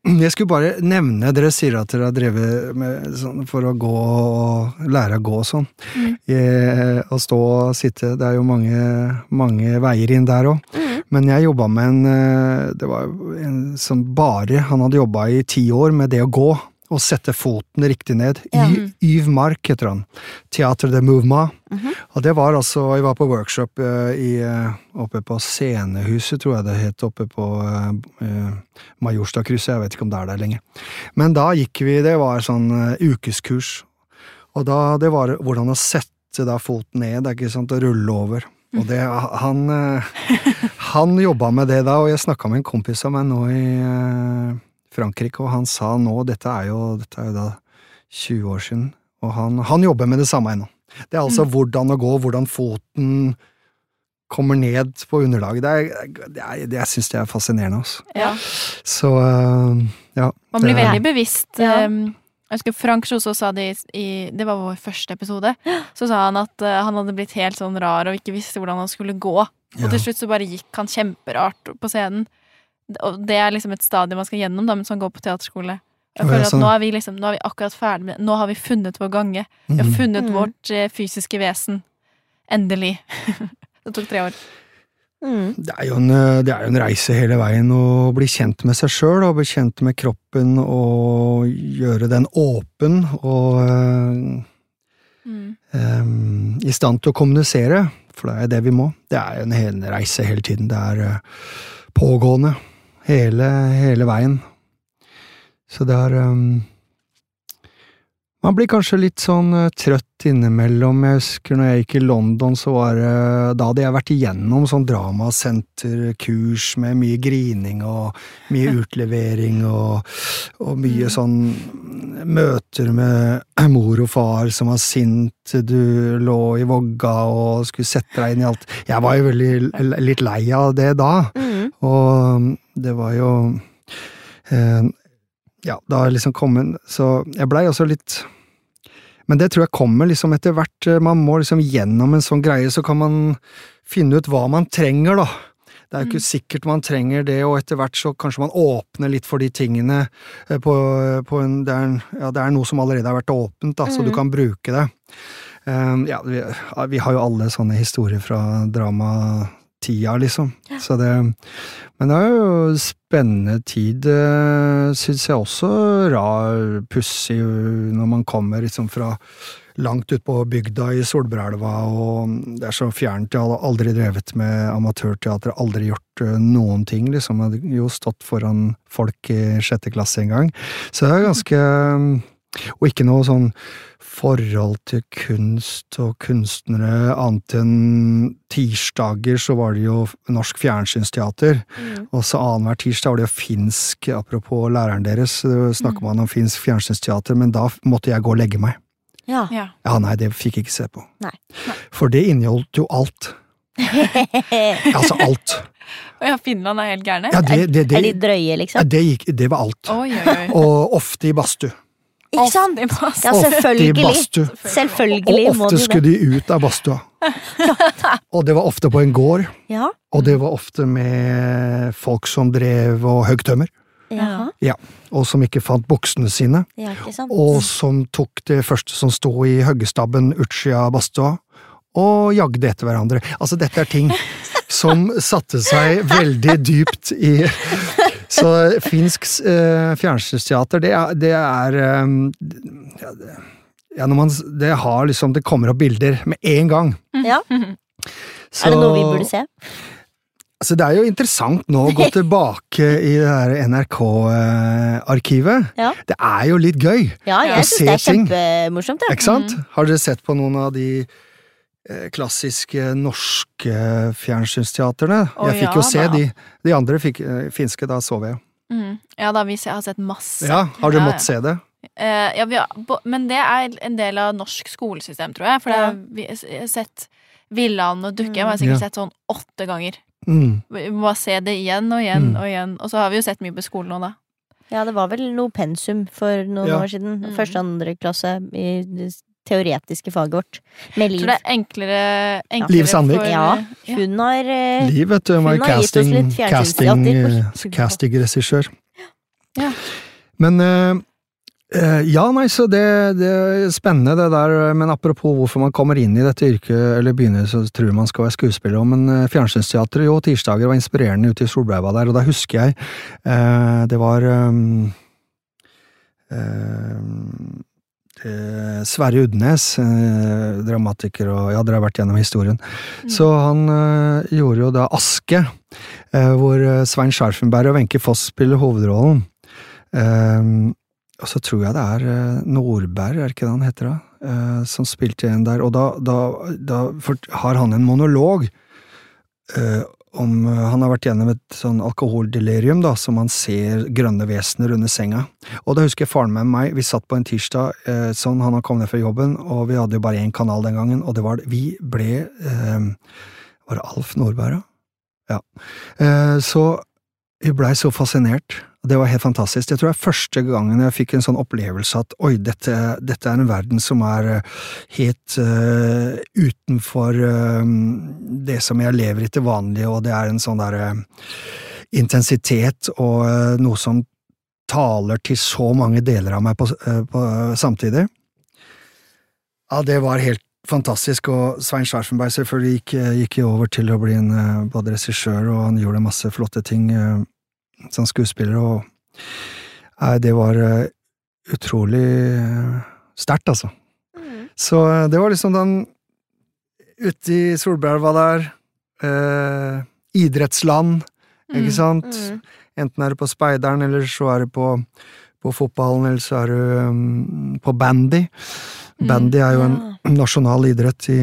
[SPEAKER 4] Jeg skulle bare nevne Dere sier at dere har drevet med sånn for å gå og lære å gå og sånn.
[SPEAKER 1] Mm.
[SPEAKER 4] Eh, Å stå og sitte. Det er jo mange, mange veier inn der òg.
[SPEAKER 2] Mm.
[SPEAKER 4] Men jeg jobba med en eh, Det var en som bare Han hadde jobba i ti år med det å gå. å sette foten riktig ned.
[SPEAKER 2] Ja.
[SPEAKER 4] Y- Yves Mark heter han. Teater de Mouvement.
[SPEAKER 2] Mhm.
[SPEAKER 4] Og det var altså Jeg var på workshop eh, i, eh, oppe på Scenehuset, tror jeg det het, oppe på eh, eh, Majorstadkrysset. Jeg vet ikke om det er der lenger. Men da gikk vi Det var sånn eh, ukeskurs. Og da Det var hvordan å sette da foten ned, det er ikke sant, og rulle over. Og det, han, eh, [laughs] han jobba med det da, og jeg snakka med en kompis av meg nå i eh, Frankrike, og han sa nå Dette er jo, dette er jo da 20 år siden, og han, han jobber med det samme ennå. Det er altså hvordan å gå, hvordan foten kommer ned på underlaget. Det er, det er, det, jeg syns det er fascinerende, altså.
[SPEAKER 1] Ja.
[SPEAKER 4] Så eh, ja.
[SPEAKER 1] Man blir
[SPEAKER 4] det-
[SPEAKER 1] veldig bevisst.
[SPEAKER 2] Ja.
[SPEAKER 1] eh, Jeg husker Frank Kjoså sa det i, i Det var vår første episode. Så sa han at eh, han hadde blitt helt sånn rar og ikke visste hvordan han skulle gå. Og
[SPEAKER 4] ja.
[SPEAKER 1] til slutt så bare gikk han kjemperart på scenen. Og det er liksom et stadium man skal gjennom da, mens man går på teaterskole. Jeg
[SPEAKER 4] Ja,
[SPEAKER 1] føler
[SPEAKER 4] jeg
[SPEAKER 1] at
[SPEAKER 4] sa
[SPEAKER 1] nå
[SPEAKER 4] det.
[SPEAKER 1] er vi liksom, nå er vi akkurat ferdig med Nå har vi funnet vår gange. Vi har
[SPEAKER 4] Mhm.
[SPEAKER 1] funnet
[SPEAKER 2] Mm.
[SPEAKER 1] vårt eh, fysiske vesen. Endelig. [laughs] det tok tre år.
[SPEAKER 2] Mm.
[SPEAKER 4] Det er, jo en, eh, det er jo en reise hele veien å bli kjent med seg sjøl og bli kjent med kroppen og gjøre den åpen og
[SPEAKER 2] Mm.
[SPEAKER 4] eh, em, i stand til å kommunisere, for det er det vi må. Det er en hel reise hele tiden. Det er eh, pågående hele, hele veien. Så det er em, man blir kanskje litt sånn eh, trøtt innimellom. Jeg husker når jeg gikk i London, så var det Da hadde jeg vært igjennom sånn dramasenterkurs med mye grining og mye utlevering og, og mye sånn møter med [clears throat] mor og far som var sint, du lå i vogga og skulle sette deg inn i alt. Jeg var jo veldig l- litt lei av det da.
[SPEAKER 2] Mm.
[SPEAKER 4] Og um, det var jo eh, Ja, da har jeg liksom kommet Så jeg blei også litt Men det tror jeg kommer liksom etter hvert. eh, Man må liksom gjennom en sånn greie, så kan man finne ut hva man trenger, da. Det er jo ikke sikkert man trenger det, og etter hvert så kanskje man åpner litt for de tingene eh, på, på en det er, en- ja, det er noe som allerede har vært åpent, da, så du kan bruke det. Eh, ja, vi, ja, vi har jo alle sånne historier fra dramatida, liksom. Så det men det er jo spennende tid, syns jeg også. Rar, pussig når man kommer liksom fra langt ut på bygda i Solbrelva, og det er så fjernt. Jeg hadde aldri drevet med amatørteater, aldri gjort eh, noen ting, liksom. Jeg hadde jo stått foran folk i sjette klasse en gang. Så det er ganske eh, Og ikke noe sånn forhold til kunst og kunstnere, annet enn tirsdager så var det jo Norsk Fjernsynsteater. Og så annenhver tirsdag var det jo finsk, apropos læreren deres, så snakker
[SPEAKER 2] Mm.
[SPEAKER 4] man om finsk fjernsynsteater, men da f- måtte jeg gå og legge meg.
[SPEAKER 2] Ja. [laughs]
[SPEAKER 1] Ja.
[SPEAKER 4] Ja, nei, det fikk jeg ikke se på.
[SPEAKER 2] Nei.
[SPEAKER 4] For det inneholdt jo alt. Altså
[SPEAKER 2] [laughs]
[SPEAKER 4] alt.
[SPEAKER 1] Og ja, Finland er helt gærne.
[SPEAKER 4] Ja, det, det,
[SPEAKER 2] Er
[SPEAKER 4] det,
[SPEAKER 2] de drøye,
[SPEAKER 4] ja,
[SPEAKER 2] liksom?
[SPEAKER 4] det, gikk, det var alt.
[SPEAKER 1] Oi, oi, oi.
[SPEAKER 4] [laughs] Og ofte i badstue.
[SPEAKER 2] Ikke sant?
[SPEAKER 1] Alltid masse.
[SPEAKER 2] Ja,
[SPEAKER 4] Ofte i
[SPEAKER 2] selvfølgelig.
[SPEAKER 4] badstue. Og
[SPEAKER 2] Selvfølgelig må du
[SPEAKER 4] ofte skulle
[SPEAKER 2] det.
[SPEAKER 4] de ut av
[SPEAKER 2] [laughs]
[SPEAKER 4] badstua. Og det var ofte på en gård,
[SPEAKER 2] Ja.
[SPEAKER 4] og det var ofte med folk som drev og høgg tømmer,
[SPEAKER 2] Jaha.
[SPEAKER 4] og som ikke fant buksene sine.
[SPEAKER 2] Ja, ikke sant?
[SPEAKER 4] og som tok det første som sto i hoggestabben utsida av badstua, og jagde etter hverandre. Altså, dette er ting som satte seg veldig dypt i Så finsk eh, fjernsynsteater, det er, det er eh, ja, det- ja, når man, s- det har liksom Det kommer opp bilder med en gang.
[SPEAKER 2] Ja.
[SPEAKER 4] Så-
[SPEAKER 2] Er det noe vi burde se?
[SPEAKER 4] Altså, det er jo interessant nå å
[SPEAKER 2] [laughs]
[SPEAKER 4] gå tilbake i det her NRK-arkivet.
[SPEAKER 2] Ja.
[SPEAKER 4] Det er jo litt gøy.
[SPEAKER 2] Ja,
[SPEAKER 1] Ja.
[SPEAKER 2] jeg
[SPEAKER 4] Å
[SPEAKER 2] syns
[SPEAKER 4] se
[SPEAKER 2] det er
[SPEAKER 4] ting.
[SPEAKER 2] kjempemorsomt. ja.
[SPEAKER 4] Ikke sant?
[SPEAKER 1] Mm.
[SPEAKER 4] Har dere sett på noen av de eh, klassiske norske fjernsynsteaterne?
[SPEAKER 1] Å,
[SPEAKER 4] jeg fikk
[SPEAKER 1] ja
[SPEAKER 4] jo se
[SPEAKER 1] da.
[SPEAKER 4] de. De andre fikk, eh, finske, da sov jeg.
[SPEAKER 1] Mm. Ja da, vi se- har sett masse.
[SPEAKER 4] Ja, har dere
[SPEAKER 1] Ja,
[SPEAKER 4] måttet se det?
[SPEAKER 1] Eh, ja, vi har, bo- men det er en del av norsk skolesystem, tror jeg. For det
[SPEAKER 2] Ja. Mm.
[SPEAKER 1] er, vi jeg har sett Villand og Dukkehjem har jeg
[SPEAKER 4] Ja.
[SPEAKER 1] sikkert sett sånn åtte ganger.
[SPEAKER 4] Mm.
[SPEAKER 1] Vi må bare se det igjen og igjen
[SPEAKER 4] Mm.
[SPEAKER 1] og igjen. Og så har vi jo sett mye på skolen nå, da.
[SPEAKER 2] Ja, det var vel noe pensum for noen
[SPEAKER 4] Ja.
[SPEAKER 2] år siden.
[SPEAKER 1] Mm.
[SPEAKER 2] Første og andre klasse i det teoretiske faget vårt. Med
[SPEAKER 1] Jeg
[SPEAKER 2] Liv.
[SPEAKER 1] tror det er enklere, enklere
[SPEAKER 4] Liv Sandvik.
[SPEAKER 1] for-
[SPEAKER 2] Ja,
[SPEAKER 1] ja.
[SPEAKER 2] Hun har eh,
[SPEAKER 4] Liv, vet du,
[SPEAKER 2] hun
[SPEAKER 4] var
[SPEAKER 2] har gitt oss
[SPEAKER 4] casting,
[SPEAKER 2] litt fjernsynsteater.
[SPEAKER 4] casting, eh,
[SPEAKER 2] Oi, skulle
[SPEAKER 4] castingregissør.
[SPEAKER 1] Ja.
[SPEAKER 4] Men eh, eh, ja, nei, så det, det er spennende det der, men apropos hvorfor man kommer inn i dette yrket, eller begynner så tror man skal være skuespiller, men eh, fjernsynsteatret jo, tirsdager var inspirerende ute i Solbreiva der, og da husker jeg, eh, det var eh, eh, eh, Sverre Udnes, eh, dramatiker og Ja, dere har vært gjennom historien. Så han eh, gjorde jo da Aske, eh, hvor eh, Svein Scharfenberg og Wenche Foss spiller hovedrollen. Eh, og så tror jeg det er eh, Nordberg, er det ikke det han heter da? Eh, som spilte en der. Og da, da, da fort- har han en monolog eh, om eh, Han har vært gjennom et sånn alkoholdelirium, da, som han ser grønne vesener under senga. Og da husker jeg faren med meg, vi satt på en tirsdag, eh, sånn han hadde kommet ned fra jobben, og vi hadde jo bare én kanal den gangen, og det var Vi ble eh, Var det Alf Nordberg, da? Ja. Eh, så vi blei så fascinert. og Det var helt fantastisk. Jeg tror det er første gangen jeg fikk en sånn opplevelse at oi, dette, dette er en verden som er eh, helt eh, utenfor eh, det som jeg lever i til vanlig, og det er en sånn derre intensitet og eh, noe som taler til så mange deler av meg på, s- eh, på, samtidig. Ja, det var helt fantastisk, og Svein Scharfenberg selvfølgelig gikk, eh, gikk jo over til å bli en eh, både regissør, og han gjorde masse flotte ting eh, som skuespiller, og nei, det var eh, utrolig eh, sterkt, altså. Så eh, det var liksom den ute i Solbergelva der, eh, idrettsland,
[SPEAKER 1] Mm,
[SPEAKER 4] ikke sant?
[SPEAKER 2] mm.
[SPEAKER 4] Enten er du på Speideren, eller så er du på, på fotballen, eller så er du um, på bandy.
[SPEAKER 1] Mm,
[SPEAKER 4] Bandy er jo en
[SPEAKER 2] ja.
[SPEAKER 4] nasjonal idrett i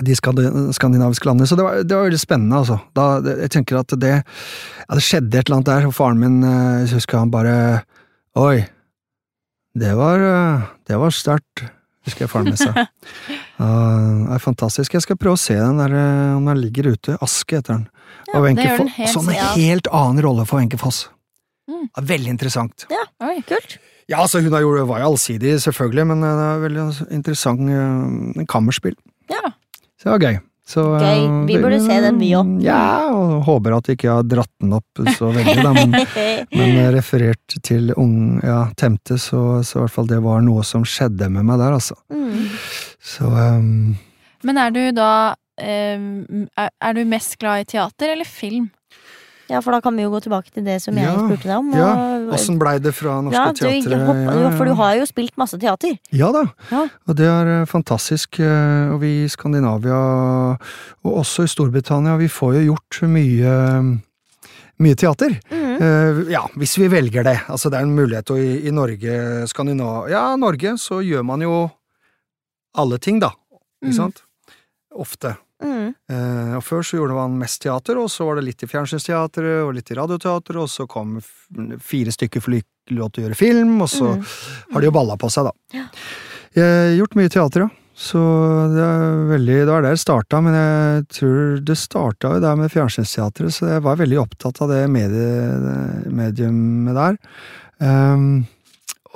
[SPEAKER 4] de skandi- skandinaviske landene. Så det var, det var veldig spennende, altså. Da, det, jeg tenker at det ja, Det skjedde et eller annet der, og faren min, eh, jeg husker han bare Oi, det var, eh, det var sterkt, husker jeg faren min
[SPEAKER 1] [laughs]
[SPEAKER 4] sa. Ja, det er fantastisk. Jeg skal prøve å se den der eh, om den ligger ute. Aske heter den.
[SPEAKER 1] Ja,
[SPEAKER 4] og Wenche
[SPEAKER 1] det gjør den
[SPEAKER 4] Foss-
[SPEAKER 1] helt
[SPEAKER 4] Sånn en
[SPEAKER 1] sikkert.
[SPEAKER 4] helt annen rolle for Wenche Foss.
[SPEAKER 1] Mm.
[SPEAKER 4] Ja, Veldig interessant.
[SPEAKER 1] Oi.
[SPEAKER 2] Kult. [laughs]
[SPEAKER 4] Ja, altså hun har gjort, var jo allsidig, selvfølgelig, men eh, det er veldig interessant eh, kammerspill.
[SPEAKER 1] Ja.
[SPEAKER 4] Så det var gøy. Så, eh,
[SPEAKER 2] Gøy. Vi
[SPEAKER 4] det- Mm,
[SPEAKER 2] burde se den, vi også.
[SPEAKER 4] Ja, og håper at jeg ikke har dratt den opp så veldig, da,
[SPEAKER 2] [laughs]
[SPEAKER 4] men men eh, referert til ung, ja, temte, så, så i hvert fall det var noe som skjedde med meg der, altså.
[SPEAKER 2] Mm.
[SPEAKER 4] Så ehm,
[SPEAKER 1] Men er du da ehm, er, er du mest glad i teater eller film?
[SPEAKER 2] Ja, for da kan vi jo gå tilbake til det som jeg
[SPEAKER 4] Ja,
[SPEAKER 2] spurte deg om.
[SPEAKER 4] ja,
[SPEAKER 2] og-
[SPEAKER 4] Åssen blei det fra norske
[SPEAKER 2] ja, du,
[SPEAKER 4] teatret?
[SPEAKER 2] hopp-
[SPEAKER 4] Ja,
[SPEAKER 2] jo, For du
[SPEAKER 4] ja.
[SPEAKER 2] har jo spilt masse teater.
[SPEAKER 4] Ja da,
[SPEAKER 2] Ja.
[SPEAKER 4] og det er eh, fantastisk. eh, Og vi i Skandinavia, og også i Storbritannia, vi får jo gjort mye, mye teater.
[SPEAKER 2] Mm.
[SPEAKER 4] Eh, ja, hvis vi velger det. Altså det er en mulighet, og i, i Norge, Skandinavia Ja, Norge, så gjør man jo alle ting, da.
[SPEAKER 1] Mm.
[SPEAKER 4] Ikke sant? Ofte.
[SPEAKER 2] Mm.
[SPEAKER 4] Eh, og Før så gjorde man mest teater, og så var det litt i fjernsynsteatret og litt i radioteatret, og så kom f fire stykker for lov til å gjøre film, og så
[SPEAKER 2] Mm.
[SPEAKER 4] har de jo balla på seg, da. Jeg har gjort mye teater, ja. Så det er veldig Det var der det starta, men jeg tror det starta jo der med fjernsynsteatret, så jeg var veldig opptatt av det medie, mediumet der. Ehm,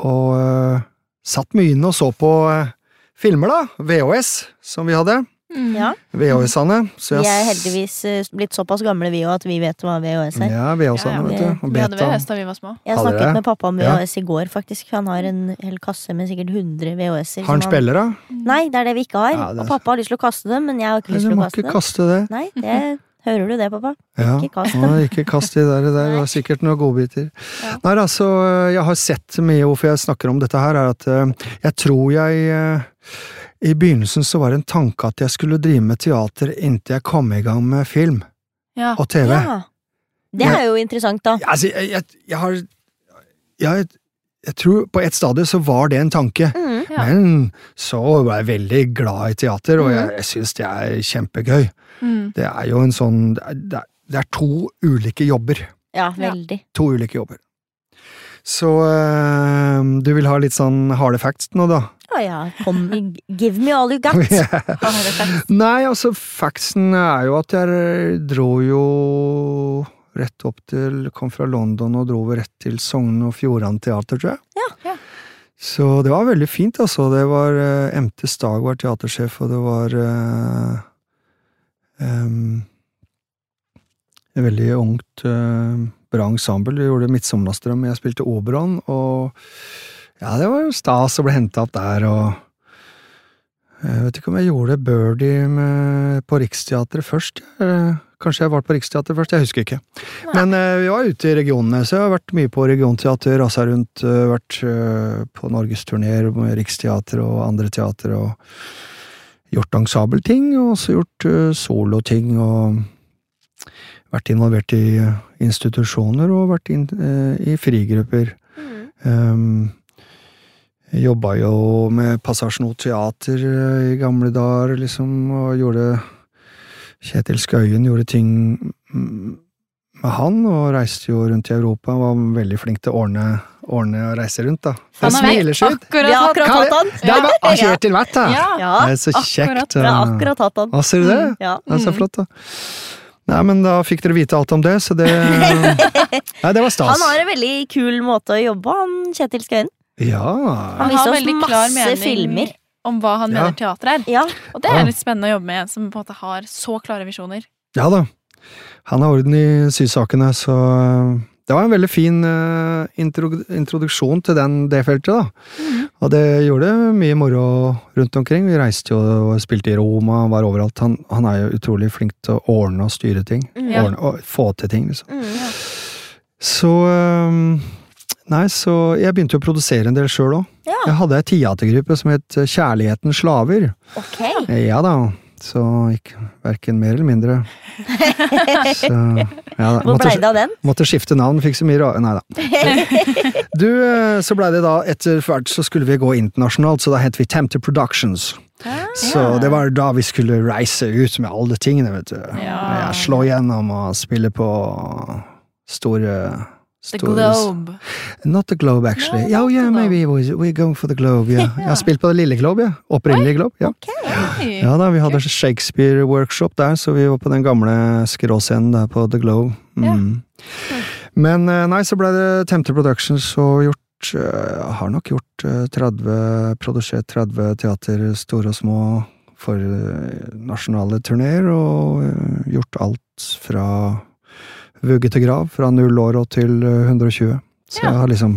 [SPEAKER 4] og eh, satt mye inne og så på eh, filmer, da. VHS, som vi hadde.
[SPEAKER 2] Ja.
[SPEAKER 4] VHS-ene.
[SPEAKER 2] Vi
[SPEAKER 4] Så jeg
[SPEAKER 2] er
[SPEAKER 4] s-
[SPEAKER 2] heldigvis eh, blitt såpass gamle vi òg at vi vet hva VHS er.
[SPEAKER 4] Ja, VHS-ene,
[SPEAKER 2] Ja, ja.
[SPEAKER 4] vet du. Og
[SPEAKER 1] Vi hadde
[SPEAKER 4] beta.
[SPEAKER 1] VHS da vi var små.
[SPEAKER 2] Jeg
[SPEAKER 4] Hadde
[SPEAKER 2] snakket
[SPEAKER 4] Mm. dere?
[SPEAKER 2] med pappa om
[SPEAKER 4] Ja.
[SPEAKER 2] VHS i går, faktisk. Han har en hel kasse med sikkert 100 VHS-er.
[SPEAKER 4] Har han spiller, da?
[SPEAKER 2] Nei, det er det vi ikke har.
[SPEAKER 4] Ja, det er-
[SPEAKER 2] Og pappa har lyst til å kaste dem, men jeg har ikke
[SPEAKER 4] Nei,
[SPEAKER 2] lyst
[SPEAKER 4] du
[SPEAKER 2] til å
[SPEAKER 4] må
[SPEAKER 2] kaste
[SPEAKER 4] ikke
[SPEAKER 2] dem.
[SPEAKER 4] kaste det.
[SPEAKER 2] Nei, det hører du det,
[SPEAKER 4] [laughs]
[SPEAKER 2] pappa.
[SPEAKER 4] Ja.
[SPEAKER 2] Ikke kast
[SPEAKER 4] Nei, ikke kast de
[SPEAKER 2] [laughs]
[SPEAKER 4] der, der. Det var sikkert noen godbiter.
[SPEAKER 1] Ja.
[SPEAKER 4] Nei, altså, jeg har sett mye hvorfor jeg snakker om dette her, er at eh, jeg tror jeg eh, I begynnelsen så var det en tanke at jeg skulle drive med teater inntil jeg kom i gang med film
[SPEAKER 1] Ja.
[SPEAKER 4] og TV.
[SPEAKER 2] Ja. Det er jo interessant, da.
[SPEAKER 4] Ja, Altså, jeg, jeg, jeg har jeg, jeg tror på et stadium så var det en tanke.
[SPEAKER 2] Mm.
[SPEAKER 1] Ja.
[SPEAKER 4] Men så var jeg veldig glad i teater, og jeg, jeg syns det er kjempegøy.
[SPEAKER 1] Mm.
[SPEAKER 4] Det er jo en sånn Det er, det er, det er to ulike jobber.
[SPEAKER 2] Ja,
[SPEAKER 1] Ja.
[SPEAKER 2] veldig.
[SPEAKER 4] To ulike jobber. Så eh, du vil ha litt sånn harde facts nå, da?
[SPEAKER 2] Å ja,
[SPEAKER 1] [laughs]
[SPEAKER 2] kom, give me all you got.
[SPEAKER 1] Har du sett?
[SPEAKER 4] Nei, altså, factsen er jo at jeg dro jo rett opp til Kom fra London og dro rett til Sogn og Fjordan Teater, tror jeg.
[SPEAKER 1] Ja. Ja.
[SPEAKER 4] Så det var veldig fint, altså. Det var eh, MT Stag var teatersjef, og det var eh, em, et veldig ungt, eh, bra ensemble. Vi gjorde Midtsommernadsdrøm, jeg spilte operaen, og ja, det var jo stas å bli henta opp der, og jeg vet ikke om jeg gjorde Birdie med, på Riksteatret først. jeg. Kanskje jeg var på Riksteater først, jeg husker ikke.
[SPEAKER 1] Nei.
[SPEAKER 4] Men eh, vi var ute i regionene, så jeg har vært mye på regionteater, rasa rundt, eh, vært eh, på norgesturneer med Riksteater og andre teater, og gjort ensembleting, og også gjort eh, soloting, og vært involvert i eh, institusjoner, og vært inn- eh, i frigrupper.
[SPEAKER 2] mm.
[SPEAKER 4] Um, Jobba jo med Passasjen O Teater eh, i gamle dager, liksom, og gjorde Kjetil Skøyen gjorde ting mm, med han, og reiste jo rundt i Europa. Var veldig flink til å ordne, ordne og reise rundt, da. Det
[SPEAKER 1] Han
[SPEAKER 4] er
[SPEAKER 1] har vi
[SPEAKER 4] smileskitt!
[SPEAKER 2] Vi
[SPEAKER 1] Akkurat
[SPEAKER 2] har
[SPEAKER 1] hatt
[SPEAKER 2] akkurat hatt han!
[SPEAKER 4] Der var ah, Kjetil vært, da!
[SPEAKER 1] Ja.
[SPEAKER 2] Ja,
[SPEAKER 4] Det er så
[SPEAKER 1] akkurat.
[SPEAKER 4] kjekt.
[SPEAKER 2] vi har
[SPEAKER 4] eh.
[SPEAKER 2] akkurat hatt han.
[SPEAKER 4] Hva sier du det?
[SPEAKER 2] Ja.
[SPEAKER 4] Det er så
[SPEAKER 1] Mm.
[SPEAKER 4] flott, da. Nei, men da fikk dere vite alt om det, så det
[SPEAKER 1] [laughs]
[SPEAKER 4] Nei, det var stas.
[SPEAKER 2] Han har en veldig kul måte å jobbe på, han Kjetil Skøyen.
[SPEAKER 4] Ja.
[SPEAKER 2] Han
[SPEAKER 1] Han
[SPEAKER 2] viste
[SPEAKER 1] har
[SPEAKER 2] oss
[SPEAKER 1] veldig
[SPEAKER 2] masse
[SPEAKER 1] klar mening
[SPEAKER 2] filmer.
[SPEAKER 1] om hva han
[SPEAKER 4] Ja.
[SPEAKER 1] mener teater er.
[SPEAKER 2] Ja,
[SPEAKER 1] Og det er
[SPEAKER 4] Ja.
[SPEAKER 1] litt spennende å jobbe med en som på en måte har så klare visjoner.
[SPEAKER 4] Ja da. Han har orden i sysakene, så øh, det var en veldig fin øh, intro, introduksjon til den, det feltet, da. Og det gjorde mye moro rundt omkring. Vi reiste jo og spilte i Roma, var overalt. Han, han er jo utrolig flink til å ordne og styre ting.
[SPEAKER 1] Ja.
[SPEAKER 4] Ordne, og få til ting, liksom.
[SPEAKER 2] Mm.
[SPEAKER 4] Så øhm, Nei, så jeg begynte jo å produsere en del sjøl òg.
[SPEAKER 2] Ja.
[SPEAKER 4] Jeg hadde ei teatergruppe som het Kjærlighetens slaver.
[SPEAKER 2] ok.
[SPEAKER 4] Ja da. Så ikke verken mer eller mindre. Så, ja, da.
[SPEAKER 2] Hvor
[SPEAKER 4] Måtte-
[SPEAKER 2] blei det av den?
[SPEAKER 4] Måtte skifte navn, fikk så mye rare
[SPEAKER 1] [laughs]
[SPEAKER 4] Nei da. Du, eh, så blei det da etter hvert så skulle vi gå internasjonalt, så da het vi Tempter Productions. Så det var da vi skulle reise ut med alle tingene, vet du.
[SPEAKER 1] Ja.
[SPEAKER 4] Ja, slå gjennom og spille på store
[SPEAKER 1] The
[SPEAKER 4] store-
[SPEAKER 1] Globe.
[SPEAKER 4] Not the Globe, actually.
[SPEAKER 1] No,
[SPEAKER 4] Yeah,
[SPEAKER 1] not
[SPEAKER 4] yeah,
[SPEAKER 1] the Globe.
[SPEAKER 4] maybe we're we're going for the
[SPEAKER 1] [laughs]
[SPEAKER 4] Globe, yeah. Jeg har spilt på det lille Globe, ja. Opprinnelig Globe, ja.
[SPEAKER 1] Oi.
[SPEAKER 4] Ja da, vi hadde Shakespeare-workshop der, så vi var på den gamle skråscenen der på The Glow. Mm. Men eh, nei, så ble det Tempter Productions og gjort eh, Har nok gjort eh, 30 Produsert 30 teater, store og små, for eh, nasjonale turneer, og eh, gjort alt fra vugge til grav, fra null år og til eh, 120. Så
[SPEAKER 1] Ja.
[SPEAKER 4] jeg har liksom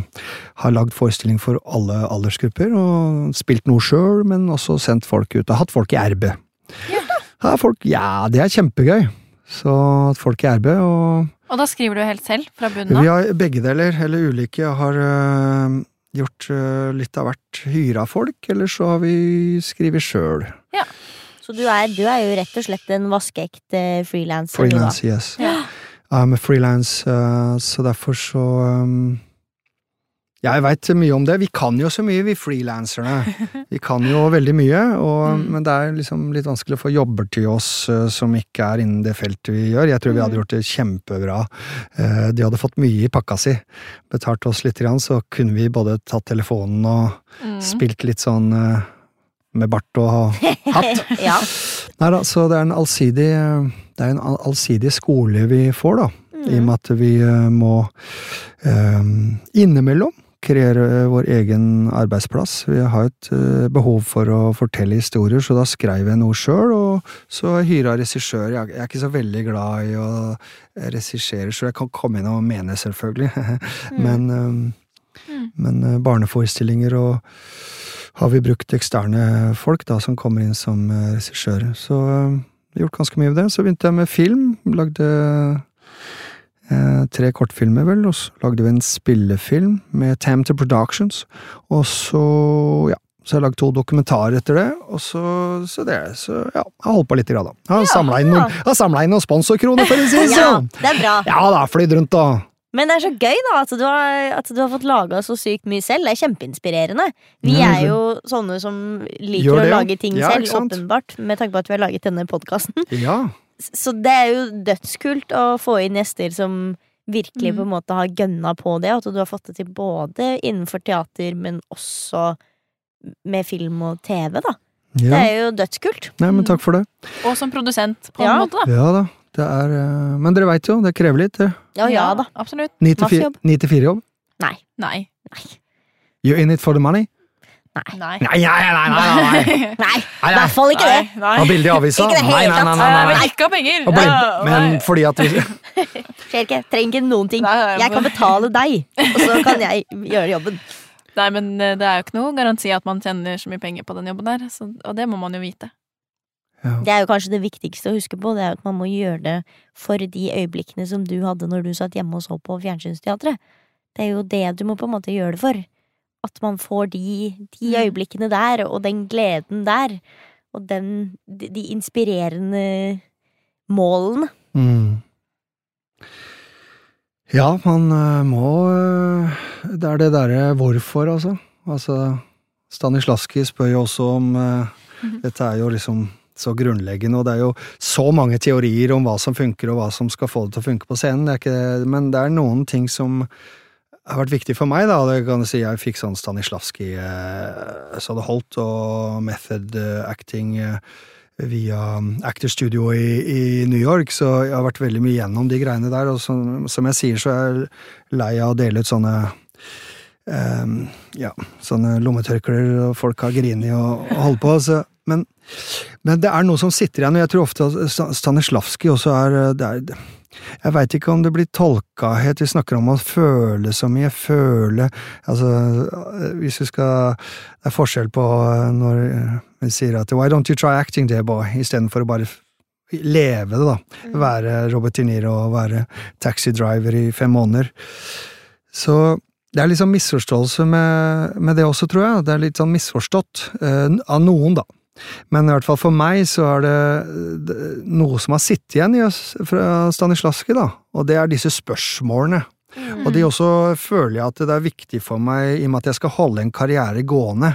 [SPEAKER 4] har lagd forestilling for alle aldersgrupper, og spilt noe sjøl, men også sendt folk ut. Jeg har hatt folk i RB. Ja, folk, ja, det er kjempegøy. Så at folk i RB, og
[SPEAKER 1] Og da skriver du helt selv fra bunnen av.
[SPEAKER 4] vi har begge deler, eller ulike, Jeg har øh, gjort øh, litt av hvert. Hyra folk, eller så har vi skrevet sjøl.
[SPEAKER 2] Så du er, du er jo rett og slett en vaskeekte frilanser. [laughs]
[SPEAKER 4] Freelance, yes.
[SPEAKER 1] Ja.
[SPEAKER 4] I'm a freelance, øh, så derfor så øhm, ja, jeg veit mye om det. Vi kan jo så mye, vi frilanserne. Vi kan jo veldig mye, og,
[SPEAKER 1] Mm.
[SPEAKER 4] men det er liksom litt vanskelig å få jobber til oss øh, som ikke er innen det feltet vi gjør. Jeg tror vi
[SPEAKER 1] Mm.
[SPEAKER 4] hadde gjort det kjempebra. Eh, De hadde fått mye i pakka si. Betalt oss litt, grann, så kunne vi både tatt telefonen og
[SPEAKER 1] Mm.
[SPEAKER 4] spilt litt sånn eh, med bart
[SPEAKER 1] [laughs]
[SPEAKER 4] og hatt.
[SPEAKER 2] da. Ja.
[SPEAKER 4] Nei da, så det er en allsidig, eh, det er en all- allsidig skole vi får, da.
[SPEAKER 2] Mm.
[SPEAKER 4] I og med at vi eh, må eh, innimellom kreere eh, vår egen arbeidsplass. Vi har et eh, behov for å fortelle historier, så da skrev jeg noe sjøl, og så hyra regissør. Jeg jeg er ikke så veldig glad i å regissere sjøl. Jeg kan komme inn og mene, selvfølgelig, [laughs] men eh, men eh, barneforestillinger og har vi brukt eksterne folk da, som kommer inn som eh, regissører. Så eh, vi har gjort ganske mye av det. Så begynte jeg med film. Lagde eh, tre kortfilmer, vel, og så lagde vi en spillefilm med Tamter Productions. Og så, ja. Så jeg har lagd to dokumentarer etter det, og så, så det. Så ja, jeg har holdt på litt, i grad, da. Jeg har samla inn, noen- jeg har samlet inn noen sponsorkroner, for å si det
[SPEAKER 2] ja,
[SPEAKER 4] sånn!
[SPEAKER 2] det er bra.
[SPEAKER 4] Ja da, flydd rundt, da.
[SPEAKER 2] Men det er så gøy da at du har, at du har fått laga så sykt mye selv. Det er kjempeinspirerende. Vi
[SPEAKER 4] Ja,
[SPEAKER 2] er
[SPEAKER 4] det-
[SPEAKER 2] jo sånne som liker
[SPEAKER 4] Gjør
[SPEAKER 2] å
[SPEAKER 4] det, ja.
[SPEAKER 2] lage ting
[SPEAKER 4] Ja,
[SPEAKER 2] selv,
[SPEAKER 4] ikke sant?
[SPEAKER 2] åpenbart. Med tanke på at vi har laget denne podkasten.
[SPEAKER 4] Ja.
[SPEAKER 2] Så det er jo dødskult å få inn gjester som
[SPEAKER 4] Mm.
[SPEAKER 2] virkelig på en måte har gønna på det. og At du har fått det til både innenfor teater, men også med film og TV, da. Det
[SPEAKER 4] ja.
[SPEAKER 2] er jo dødskult.
[SPEAKER 4] Nei, men takk for det.
[SPEAKER 1] Og som produsent, på
[SPEAKER 2] Ja.
[SPEAKER 1] en måte. da.
[SPEAKER 4] Ja da, det er eh, Men dere veit jo, det krever litt, det.
[SPEAKER 2] Ja, ja da.
[SPEAKER 1] Absolutt.
[SPEAKER 4] 9-4-jobb.
[SPEAKER 2] Masse
[SPEAKER 4] 94
[SPEAKER 2] Nei.
[SPEAKER 1] Nei.
[SPEAKER 4] You're in it for the money?
[SPEAKER 2] Nei.
[SPEAKER 1] Nei.
[SPEAKER 4] Nei, nei, nei! nei,
[SPEAKER 2] [laughs]
[SPEAKER 4] nei, nei.
[SPEAKER 2] Nei, i
[SPEAKER 4] nei, nei.
[SPEAKER 2] hvert fall ikke det.
[SPEAKER 1] Nei.
[SPEAKER 4] Ha bilde i avisa?
[SPEAKER 2] Ikke det hele
[SPEAKER 4] Nei, nei, nei. nei,
[SPEAKER 1] Jeg
[SPEAKER 4] nei,
[SPEAKER 1] vil
[SPEAKER 4] nei.
[SPEAKER 1] ikke ha penger!
[SPEAKER 4] Og bare,
[SPEAKER 1] Ja,
[SPEAKER 4] men
[SPEAKER 1] nei.
[SPEAKER 4] fordi at vi
[SPEAKER 2] Skjer ikke. Trenger ikke noen ting.
[SPEAKER 1] Nei, nei,
[SPEAKER 2] Jeg kan
[SPEAKER 1] bare-
[SPEAKER 2] betale deg, og så kan
[SPEAKER 1] [laughs]
[SPEAKER 2] jeg gjøre jobben.
[SPEAKER 1] Nei, men eh, det er jo ikke noe garanti at man tjener så mye penger på den jobben der, så, og det må man jo vite.
[SPEAKER 4] Ja.
[SPEAKER 2] Det er jo kanskje det viktigste å huske på, det er jo at man må gjøre det for de øyeblikkene som du hadde når du satt hjemme og så på fjernsynsteatret. Det er jo det du må på en måte gjøre det for. At man får de, de
[SPEAKER 1] Mm.
[SPEAKER 2] øyeblikkene der, og den gleden der, og den, de, de inspirerende målene.
[SPEAKER 4] Mm. Ja, man eh, må eh, Det er det derre hvorfor, altså. Altså, Stanislavski spør jo også om eh,
[SPEAKER 1] Mhm.
[SPEAKER 4] Dette er jo liksom så grunnleggende, og det er jo så mange teorier om hva som funker, og hva som skal få det til å funke på scenen. Det er ikke, men det er noen ting som har vært viktig for meg, da. og Det kan jeg si, jeg fikk sånn Stanislavski eh, så det holdt, og method eh, acting. Eh, via Actor Studio i, i New York, så jeg har vært veldig mye gjennom de greiene der. Og som, som jeg sier, så er jeg lei av å dele ut sånne ehm, ja, sånne lommetørklær, og folk har grini og, og holdt på. Så, men, men det er noe som sitter igjen, og jeg tror ofte at Sta- Stanislavski også er, eh, det er jeg veit ikke om det blir tolka helt. Vi snakker om å føle så mye. Føle Altså, hvis du skal Det er forskjell på eh, når eh, vi sier at 'why don't you try acting there, boy', istedenfor å bare f- leve det, da. Være Robert De Niro og være taxidriver i fem måneder. Så det er liksom misforståelse med, med det også, tror jeg. Det er litt sånn misforstått. eh, av noen, da. Men i hvert fall for meg så er det eh, d- noe som har sittet igjen i oss fra Stanislavski, da. Og det er disse spørsmålene.
[SPEAKER 1] Mm.
[SPEAKER 2] Mm.
[SPEAKER 4] Og de også føler jeg at det er viktig for meg, i og med at jeg skal holde en karriere gående.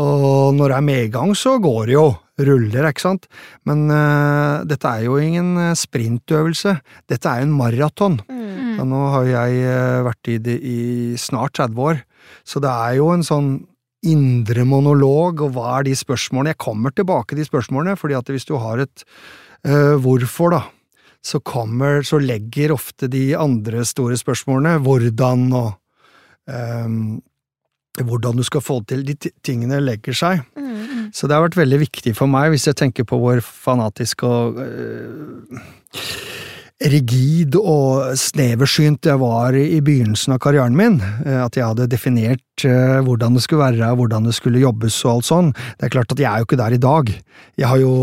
[SPEAKER 4] Og når det er medgang, så går det jo. Ruller, ikke sant. Men eh, dette er jo ingen eh, sprintøvelse. Dette er jo en maraton.
[SPEAKER 1] Mm.
[SPEAKER 2] Mm.
[SPEAKER 4] Ja, nå har jo jeg eh, vært i det i snart 30 år, så det er jo en sånn indre monolog, og hva er de spørsmålene? Jeg kommer tilbake til de spørsmålene, fordi at hvis du har et eh, hvorfor, da, så kommer, så legger ofte de andre store spørsmålene hvordan og ehm, hvordan du skal få det til, de ti- tingene legger seg. Så det har vært veldig viktig for meg, hvis jeg tenker på hvor fanatisk og øh, rigid og sneversynt jeg var i i begynnelsen av karrieren min. eh, At jeg hadde definert eh, hvordan det skulle være, hvordan det skulle jobbes og alt sånn. Det er klart at jeg er jo ikke der i dag. Jeg har jo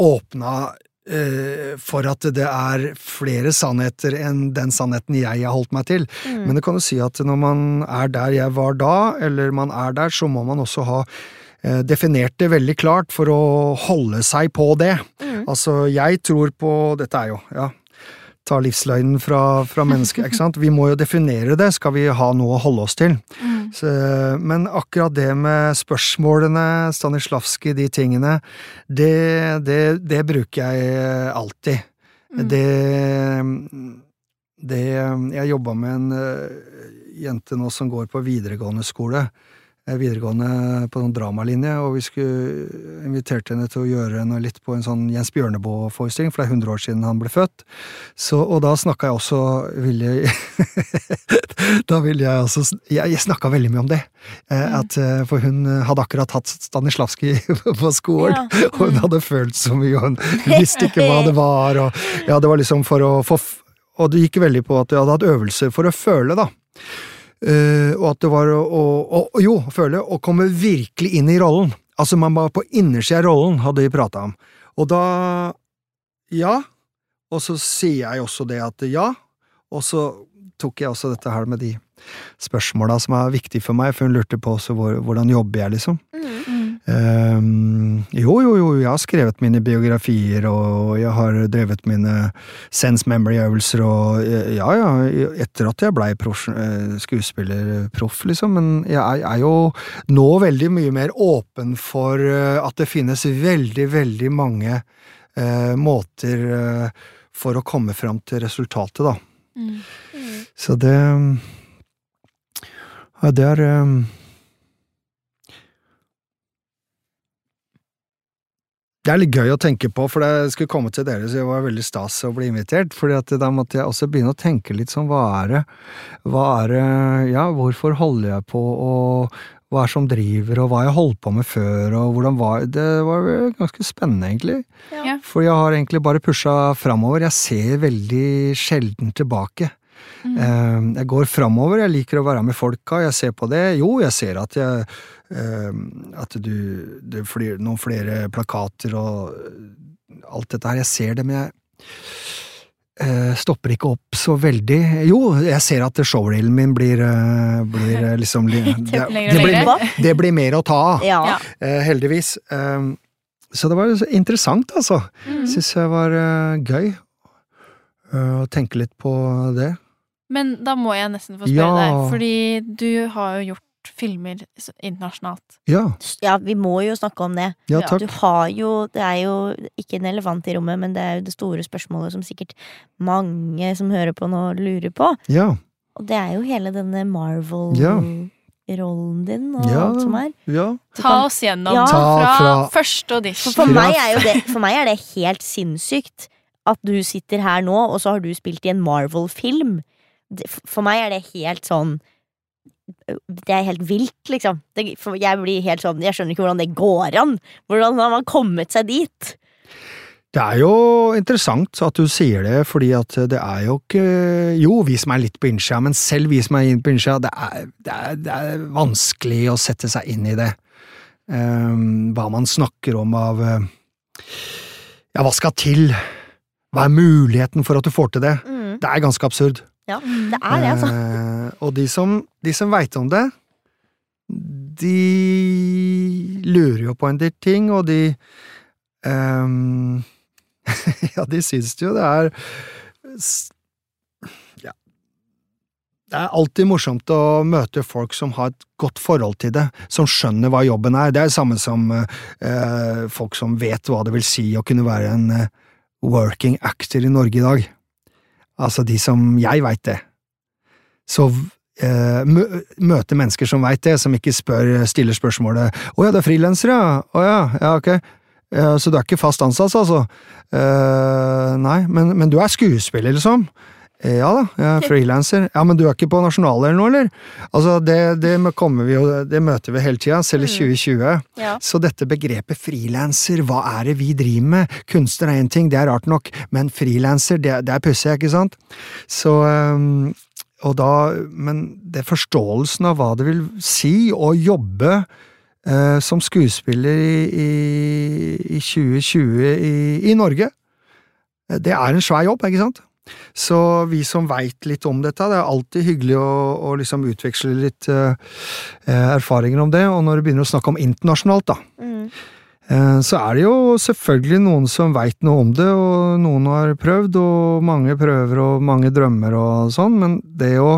[SPEAKER 4] åpna eh, for at det er flere sannheter enn den sannheten jeg har holdt meg til. Men det kan jo si at når man er der jeg var da, eller man er der, så må man også ha eh, definert det veldig klart for å holde seg på det. Altså, jeg tror på Dette er jo, ja. Ta livsløgnen fra, fra mennesket, ikke sant. Vi må jo definere det, skal vi ha noe å holde oss til. Så, men akkurat det med spørsmålene, Stanislavski, de tingene, det, det, det bruker jeg alltid. Det det Jeg jobba med en eh, jente nå som går på videregående skole. eh, Videregående på sånn dramalinje, og vi skulle inviterte henne til å gjøre noe litt på en sånn Jens Bjørneboe-forestilling, for det er 100 år siden han ble født. Så, og da snakka jeg også ville, [laughs] Da ville jeg også sn- Jeg, jeg snakka veldig mye om det. eh, At, eh, for hun eh, hadde akkurat hatt Stanislavski [laughs] på skolen.
[SPEAKER 2] Ja.
[SPEAKER 4] [laughs] Og hun hadde følt så mye, og hun visste ikke hva det var. Og, ja, det var liksom for å få f- Og det gikk veldig på at jeg hadde hatt øvelser for å føle, da. Eh, og at det var å, å, å Jo, føle. Å komme virkelig inn i rollen. Altså, man var på innersida av rollen, hadde vi prata om. Og da Ja. Og så sier jeg også det at ja. Og så tok jeg også dette her med de spørsmåla som er viktige for meg, for hun lurte på også hvor, hvordan jobber jeg, liksom.
[SPEAKER 1] Mm.
[SPEAKER 4] Ehm, jo, jo, jo, jeg har skrevet mine biografier, og jeg har drevet mine sense memory-øvelser, og eh, ja, ja, etter at jeg blei profes- eh, skuespillerproff, liksom, men jeg er, er jo nå veldig mye mer åpen for eh, at det finnes veldig, veldig mange eh, måter eh, for å komme fram til resultatet, da.
[SPEAKER 1] Mm.
[SPEAKER 4] Så det Ja, det er eh, Det er litt gøy å tenke på, for jeg skulle komme til dere, så det var veldig stas å bli invitert. fordi at da måtte jeg også begynne å tenke litt sånn, hva er det, hva er det, ja, hvorfor holder jeg på, og hva er det som driver, og hva har jeg holdt på med før, og hvordan var Det var vel ganske spennende, egentlig.
[SPEAKER 1] Ja.
[SPEAKER 4] For jeg har egentlig bare pusha framover. Jeg ser veldig sjelden tilbake.
[SPEAKER 1] Mm.
[SPEAKER 4] Eh, Jeg går framover, jeg liker å være med folka, jeg ser på det. Jo, jeg ser at jeg eh, At du Det flyr noen flere plakater og eh, alt dette her. Jeg ser det, men jeg eh, stopper ikke opp så veldig. Jo, jeg ser at showreelen min blir, eh, blir eh, liksom li- det,
[SPEAKER 1] lenger og
[SPEAKER 4] det, blir,
[SPEAKER 1] lenger.
[SPEAKER 4] det blir mer å ta av,
[SPEAKER 2] Ja.
[SPEAKER 1] Mm. Ja.
[SPEAKER 4] eh, heldigvis. Eh, Så det var jo så interessant, altså.
[SPEAKER 1] Mm.
[SPEAKER 4] Syns jeg var eh, gøy eh, å tenke litt på det.
[SPEAKER 1] Men da må jeg nesten få spørre
[SPEAKER 4] Ja.
[SPEAKER 1] deg, fordi du har jo gjort filmer s- internasjonalt.
[SPEAKER 4] Ja,
[SPEAKER 2] ja, vi må jo snakke om det.
[SPEAKER 4] ja
[SPEAKER 1] Ja,
[SPEAKER 4] takk.
[SPEAKER 2] Du har jo Det er jo ikke en elefant i rommet, men det er jo det store spørsmålet som sikkert mange som hører på nå, lurer på.
[SPEAKER 4] Ja,
[SPEAKER 2] Og det er jo hele denne
[SPEAKER 4] Ja.
[SPEAKER 2] Marvel-rollen din og
[SPEAKER 4] Ja.
[SPEAKER 2] alt som er.
[SPEAKER 4] ja.
[SPEAKER 2] Du
[SPEAKER 1] Ta
[SPEAKER 2] kan-
[SPEAKER 1] oss gjennom
[SPEAKER 2] Ja.
[SPEAKER 4] Ta
[SPEAKER 1] fra,
[SPEAKER 4] fra-
[SPEAKER 1] første audition.
[SPEAKER 2] For, for,
[SPEAKER 4] Kraft.
[SPEAKER 2] meg er jo det, for meg er det helt sinnssykt at du sitter her nå, og så har du spilt i en Marvel-film. Det- f- For meg er det helt sånn Det er helt vilt, liksom. Det, for jeg blir helt sånn Jeg skjønner ikke hvordan det går an. Hvordan har man kommet seg dit?
[SPEAKER 4] Det er jo interessant at du sier det, fordi at det er jo ikke Jo, vi som er litt på innsida, men selv vi som er inn på innsida, det er, det, er, det er vanskelig å sette seg inn i det. Ehm, hva man snakker om av eh, Ja, hva skal til? Hva er muligheten for at du får til det?
[SPEAKER 2] Mm.
[SPEAKER 4] Det er ganske absurd.
[SPEAKER 2] Ja, det er det, altså.
[SPEAKER 4] Eh, og de som, de som veit om det, de lurer jo på en del ting, og de ehm, [laughs] Ja, de syns jo det er s- Ja. Det er alltid morsomt å møte folk som har et godt forhold til det, som skjønner hva jobben er. Det er det samme som eh, eh, folk som vet hva det vil si å kunne være en eh, working actor i Norge i dag. Altså de som jeg veit det. Så eh, mø- møte mennesker som veit det, som ikke spør, stiller spørsmålet 'Å ja, du er frilanser, ja? Å ja, ja, ok. Eh, så du er ikke fast ansatt, altså? Eh, nei, men, men du er skuespiller, liksom? Eh, Ja da, jeg er frilanser. Ja, men du er ikke på nasjonalet eller noe, eller? Altså, det, det må- kommer vi jo, det møter vi hele tida, selv i 2020.
[SPEAKER 2] Ja.
[SPEAKER 4] Så dette begrepet frilanser, hva er det vi driver med? Kunstner er én ting, det er rart nok, men frilanser, det, det er pussig, ikke sant? Så ehm, øhm, Og da Men det forståelsen av hva det vil si å jobbe øh, som skuespiller i, i, i 2020 i, i Norge, Eh, det er en svær jobb, ikke sant? Så vi som veit litt om dette, det er alltid hyggelig å, å liksom utveksle litt øh, eh, erfaringer om det. Og når du begynner å snakke om internasjonalt, da,
[SPEAKER 2] Mm.
[SPEAKER 4] eh, så er det jo selvfølgelig noen som veit noe om det, og noen har prøvd, og mange prøver, og mange drømmer og sånn, men det å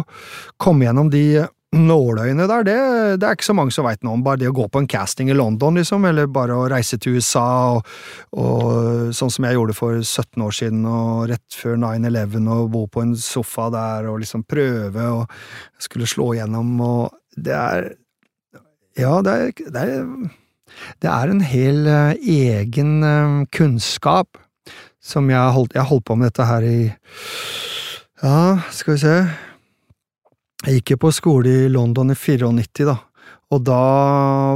[SPEAKER 4] komme gjennom de nåløyene der, det, det er ikke så mange som veit noe om. Bare det å gå på en casting i London, liksom, eller bare å reise til USA, og, og sånn som jeg gjorde for 17 år siden, og rett før 9-11, og bo på en sofa der, og liksom prøve, og skulle slå gjennom, og det er Ja, det er, det er det er en hel eh, egen eh, kunnskap som jeg har holdt, jeg har holdt på med dette her i Ja, skal vi se Jeg gikk jo på skole i London i 94, da. Og da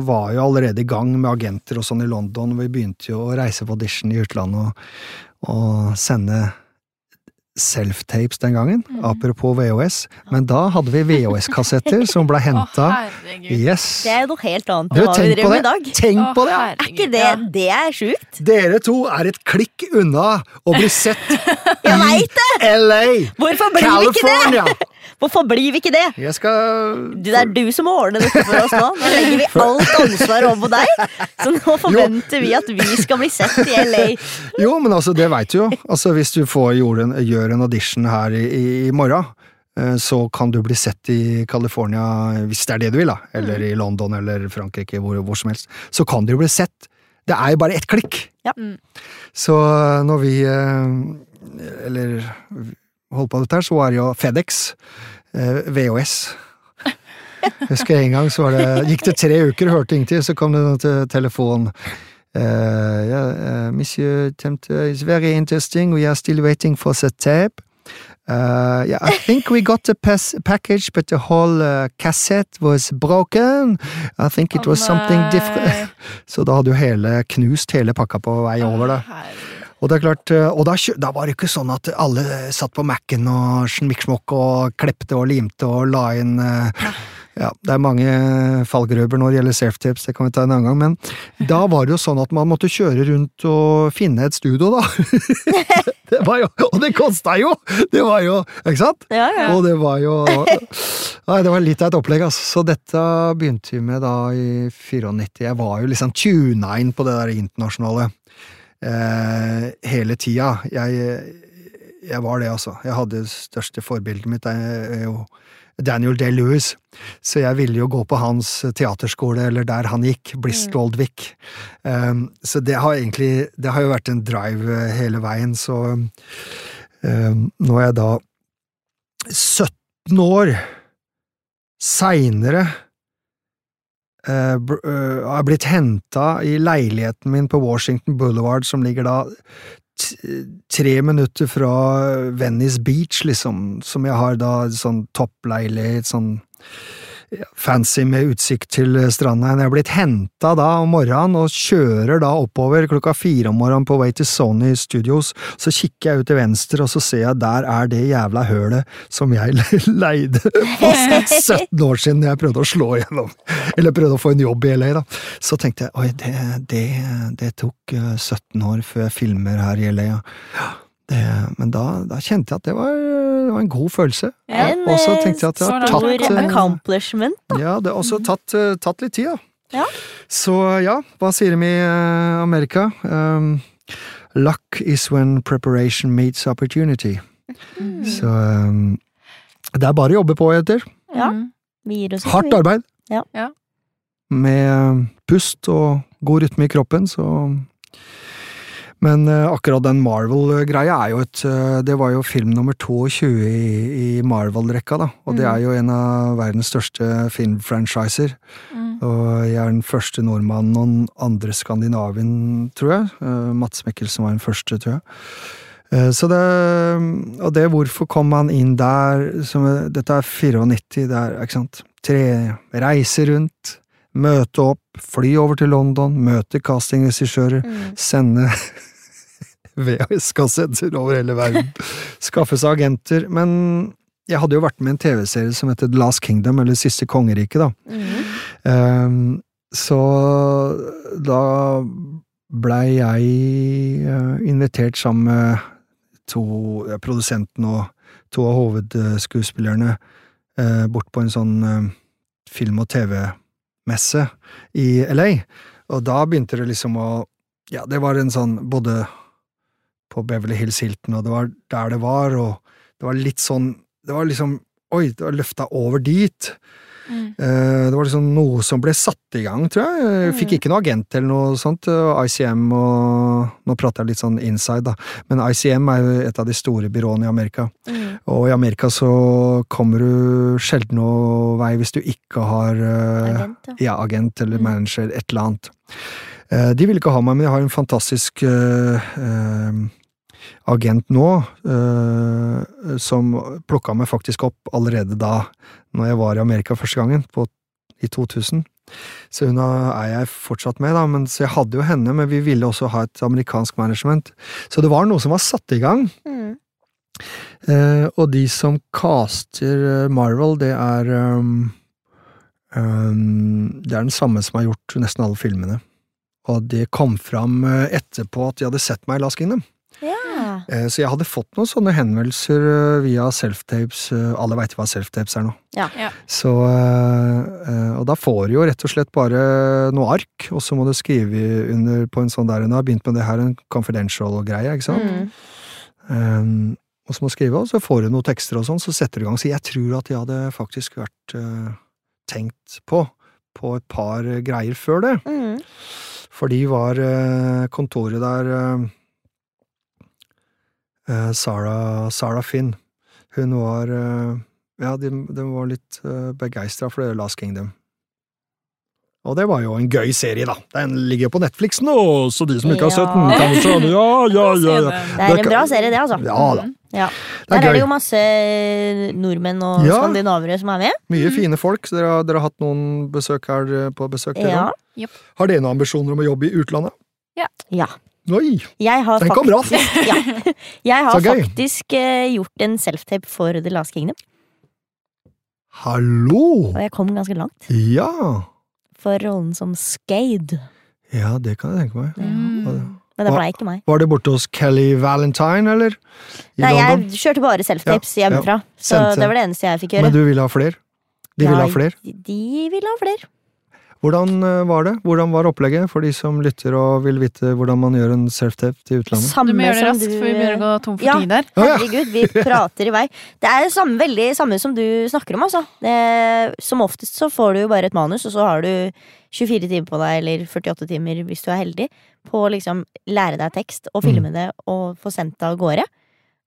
[SPEAKER 4] var jeg allerede i gang med agenter og sånn i London, og vi begynte jo å reise på audition i utlandet og, og sende self-tapes den gangen.
[SPEAKER 1] Mhm.
[SPEAKER 4] Apropos VHS. Men da hadde vi VHS-kassetter som ble
[SPEAKER 1] [laughs] Å,
[SPEAKER 4] henta.
[SPEAKER 1] herregud.
[SPEAKER 4] Yes!
[SPEAKER 2] Det er jo noe helt annet
[SPEAKER 4] Du,
[SPEAKER 2] enn hva vi driver med
[SPEAKER 4] tenk på
[SPEAKER 2] i
[SPEAKER 4] det.
[SPEAKER 2] dag.
[SPEAKER 4] Tenk på det!
[SPEAKER 2] Er ikke det Det er sjukt?
[SPEAKER 4] Dere to er et klikk unna å bli sett
[SPEAKER 2] [laughs] Jeg
[SPEAKER 4] i [laughs]
[SPEAKER 2] veit det!
[SPEAKER 4] LA,
[SPEAKER 2] Hvorfor blir vi ikke det?
[SPEAKER 4] California!
[SPEAKER 2] Hvorfor blir vi ikke det?
[SPEAKER 4] Jeg skal
[SPEAKER 2] Du, det er du som må ordne dette for oss nå. Nå legger vi alt ansvar over på deg. Så nå forventer vi at vi skal bli sett i LA.
[SPEAKER 4] Jo, men altså, det veit du jo. Altså, hvis du får, gjorde en, gjør en audition her i, i, i morgen, eh, så kan du bli sett i California, hvis det er det du vil, da. Eller
[SPEAKER 2] Mm.
[SPEAKER 4] i London eller Frankrike, hvor, hvor som helst. Så kan du jo bli sett. Det er jo bare ett klikk.
[SPEAKER 2] Ja.
[SPEAKER 1] Mm.
[SPEAKER 4] Så eh, når vi eh, Eller holdt på med dette her, så var det jo FedEx, eh, VHS.
[SPEAKER 1] [laughs]
[SPEAKER 4] Jeg husker en gang så var det, gikk det tre uker, hørte ingenting, så kom det noe til telefonen. Uh, yeah, uh, Monsieur Tempter is very interesting. We are still waiting for the tape. Uh, yeah, I think we got the pas- package, but the whole uh, cassette was broken. I think it
[SPEAKER 1] Å,
[SPEAKER 4] was something [laughs]
[SPEAKER 1] nei.
[SPEAKER 4] different. Så da hadde jo hele knust hele pakka på vei over, da.
[SPEAKER 1] Å, herregud.
[SPEAKER 4] Og det er klart, eh, og da, kjø- da var det ikke sånn at alle eh, satt på Mac-en og smikksmokk og klepte og limte og la inn eh, ja, Det er mange fallgruber når det gjelder self-tips, det kan vi ta en annen gang, men da var det jo sånn at man måtte kjøre rundt og finne et studio, da. [laughs] det var jo, og det kosta jo! Det var jo Ikke sant?
[SPEAKER 2] Ja, ja.
[SPEAKER 4] Og det var jo Nei, det var litt av et opplegg, altså. Så dette begynte vi med da i 94. Jeg var jo liksom tuna inn på det der internasjonale eh, hele tida. Jeg, jeg var det, altså. Jeg hadde det største forbildet mitt eh, er jo Daniel Day-Lewis. Så jeg ville jo gå på hans teaterskole, eller der han gikk,
[SPEAKER 2] Mm.
[SPEAKER 4] Bristolvik. Um, så det har egentlig Det har jo vært en drive eh, hele veien, så um, Når jeg da 17 år seinere eh, br- eh, har jeg blitt henta i leiligheten min på Washington Boulevard, som ligger da t- tre minutter fra Venice Beach, liksom, som jeg har da sånn toppleilighet, sånn ja, fancy med utsikt til eh, stranda. Jeg er blitt henta da om morgenen og kjører da oppover klokka fire om morgenen på vei til Sony Studios. Så kikker jeg ut til venstre, og så ser jeg der er det jævla hølet som jeg [laughs] leide for
[SPEAKER 2] [laughs]
[SPEAKER 4] 17 år siden jeg prøvde å slå igjennom. Eller prøvde å få en jobb i LA, da. Så tenkte jeg oi, det, det, det tok eh, 17 år før jeg filmer her i LA. ja. Ja. Det, men da, da kjente jeg at det var, det var en god følelse.
[SPEAKER 1] Ja,
[SPEAKER 2] En,
[SPEAKER 4] og så
[SPEAKER 2] eh,
[SPEAKER 4] tenkte jeg at jeg har
[SPEAKER 1] stor
[SPEAKER 4] tatt
[SPEAKER 2] Stor
[SPEAKER 4] eh,
[SPEAKER 2] accomplishment.
[SPEAKER 4] ja, det har også tatt, eh, tatt litt tid, da.
[SPEAKER 2] Mm. Ja.
[SPEAKER 4] Så ja, hva sier de i eh, Amerika? Um, luck is when preparation meets opportunity. Så um, det er bare å jobbe på, heter.
[SPEAKER 2] Ja.
[SPEAKER 1] Mm.
[SPEAKER 2] Vi gir oss ikke,
[SPEAKER 4] Hardt
[SPEAKER 2] vi.
[SPEAKER 4] arbeid.
[SPEAKER 2] Ja.
[SPEAKER 1] Ja.
[SPEAKER 4] Med eh, pust og god rytme i kroppen, så men eh, akkurat den Marvel-greia er jo et eh, Det var jo film nummer 22 i, i Marvel-rekka, da. Og det
[SPEAKER 1] Mm.
[SPEAKER 4] er jo en av verdens største filmfranchiser.
[SPEAKER 1] Mm.
[SPEAKER 4] Og jeg er den første nordmannen og den andre skandinavien, tror jeg. Eh, Mats Mikkelsen var den første, tror jeg. Eh, Så det, og det hvorfor kom han inn der som, Dette er 94, det er, ikke sant? Tre reise rundt, møte opp, fly over til London, møte castingregissører,
[SPEAKER 2] Mm,
[SPEAKER 4] sende [laughs] VHS-kassetter over hele verden. Skaffe seg agenter. Men jeg hadde jo vært med i en TV-serie som heter The Last Kingdom, eller Siste kongerike, da. Eh,
[SPEAKER 2] Mhm.
[SPEAKER 4] Ehm, så da blei jeg eh, invitert sammen med to ja, produsenten og to av hovedskuespillerne eh, bort på en sånn eh, film- og TV-messe i LA. Og da begynte det liksom å Ja, det var en sånn både på Beverly Hills Hilton, og det var der det var, og det var litt sånn Det var liksom Oi, det var løfta over dit.
[SPEAKER 1] Mm.
[SPEAKER 4] Eh, Det var liksom noe som ble satt i gang, tror jeg. jeg. Fikk ikke noe agent eller noe sånt. Eh, og ICM og Nå prater jeg litt sånn inside, da. Men ICM er jo et av de store byråene i Amerika.
[SPEAKER 2] Mhm.
[SPEAKER 4] Og i Amerika så kommer du sjelden noe vei hvis du ikke har eh,
[SPEAKER 2] Agent, ja.
[SPEAKER 4] ja, agent eller
[SPEAKER 1] Mm.
[SPEAKER 4] manager, et eller annet. Eh, De ville ikke ha meg, men jeg har en fantastisk eh, eh, agent nå, eh, som plukka meg faktisk opp allerede da når jeg var i Amerika første gangen, på, i 2000. Så hun har- er jeg fortsatt med, da, men, så jeg hadde jo henne, men vi ville også ha et amerikansk management. Så det var noe som var satt i gang.
[SPEAKER 2] Mhm.
[SPEAKER 4] Eh, og de som caster eh, Marvel, det er ehm, ehm, Det er den samme som har gjort nesten alle filmene. Og det kom fram eh, etterpå at de hadde sett meg i Last Kingdom.
[SPEAKER 2] Ja.
[SPEAKER 4] Eh, så jeg hadde fått noen sånne henvendelser eh, via selftapes. Eh, alle veit hva selftapes er nå.
[SPEAKER 2] Ja.
[SPEAKER 1] Ja.
[SPEAKER 4] Så, eh, eh, og da får du jo rett og slett bare noe ark, og så må du skrive under på en sånn der Hun har begynt med det her, en confidential-greie, ikke sant?
[SPEAKER 1] Mm.
[SPEAKER 2] Mhm.
[SPEAKER 4] Um, og så må jeg skrive, og så får du noen tekster og sånn, så setter du i gang. Så jeg tror at jeg hadde faktisk vært eh, tenkt på på et par eh, greier før det.
[SPEAKER 2] Mhm.
[SPEAKER 4] For de var eh, kontoret der eh, eh, Sarah, Sarah Finn Hun var eh, Ja, de, de var litt uh, begeistra for det Last Kingdom. Og det var jo en gøy serie, da. Den ligger jo på Netflix nå, så de som ikke har sett den,
[SPEAKER 2] Ja.
[SPEAKER 4] kan se den. Ja,
[SPEAKER 2] [laughs]
[SPEAKER 4] ja, ja, ja.
[SPEAKER 2] Det er en bra serie, det, altså.
[SPEAKER 4] Ja da.
[SPEAKER 2] Der er
[SPEAKER 4] gøy.
[SPEAKER 2] det jo masse nordmenn og
[SPEAKER 4] Ja.
[SPEAKER 2] skandinavere som er med.
[SPEAKER 4] Mye
[SPEAKER 1] Mm.
[SPEAKER 4] fine folk. Dere har, dere har hatt noen besøk her eh, på besøk. dere
[SPEAKER 2] Ja.
[SPEAKER 4] også. Har dere noen ambisjoner om å jobbe i utlandet?
[SPEAKER 2] ja.
[SPEAKER 4] Oi!
[SPEAKER 2] Jeg har
[SPEAKER 4] Den kom
[SPEAKER 2] faktisk,
[SPEAKER 4] bra!
[SPEAKER 2] ja. [laughs] jeg
[SPEAKER 4] Så
[SPEAKER 2] har
[SPEAKER 4] gøy.
[SPEAKER 2] faktisk eh, gjort en self-tape for The Last Kingdom,
[SPEAKER 4] Hallo!
[SPEAKER 2] og jeg kom ganske langt.
[SPEAKER 4] Ja!
[SPEAKER 2] For rollen som Skade.
[SPEAKER 4] Ja, det kan jeg tenke meg.
[SPEAKER 1] Mm.
[SPEAKER 2] Men det blei ikke meg.
[SPEAKER 4] Var det borte hos Kelly Valentine, eller? I
[SPEAKER 2] Nei, jeg
[SPEAKER 4] London?
[SPEAKER 2] kjørte bare self-tapes
[SPEAKER 4] Ja, ja.
[SPEAKER 2] hjemmefra. Så
[SPEAKER 4] Sendte.
[SPEAKER 2] det var det eneste jeg fikk gjøre.
[SPEAKER 4] Men du ville ha fler? De ville
[SPEAKER 2] Ja,
[SPEAKER 4] ha fler?
[SPEAKER 2] De ville ha flere.
[SPEAKER 4] Hvordan eh, var det? Hvordan var opplegget for de som lytter og vil vite hvordan man gjør en self-tape til utlandet?
[SPEAKER 2] Samme
[SPEAKER 1] Du må gjøre det
[SPEAKER 2] som
[SPEAKER 1] raskt, for vi begynner å gå tom for
[SPEAKER 2] Ja.
[SPEAKER 1] tid her.
[SPEAKER 4] Å, ja.
[SPEAKER 2] Herregud, vi prater i vei. Det er det samme, veldig samme som du snakker om, altså. Det, som oftest så får du jo bare et manus, og så har du 24 timer på deg, eller 48 timer hvis du er heldig, på å liksom lære deg tekst
[SPEAKER 4] Mm.
[SPEAKER 2] og filme det og få sendt det av gårde.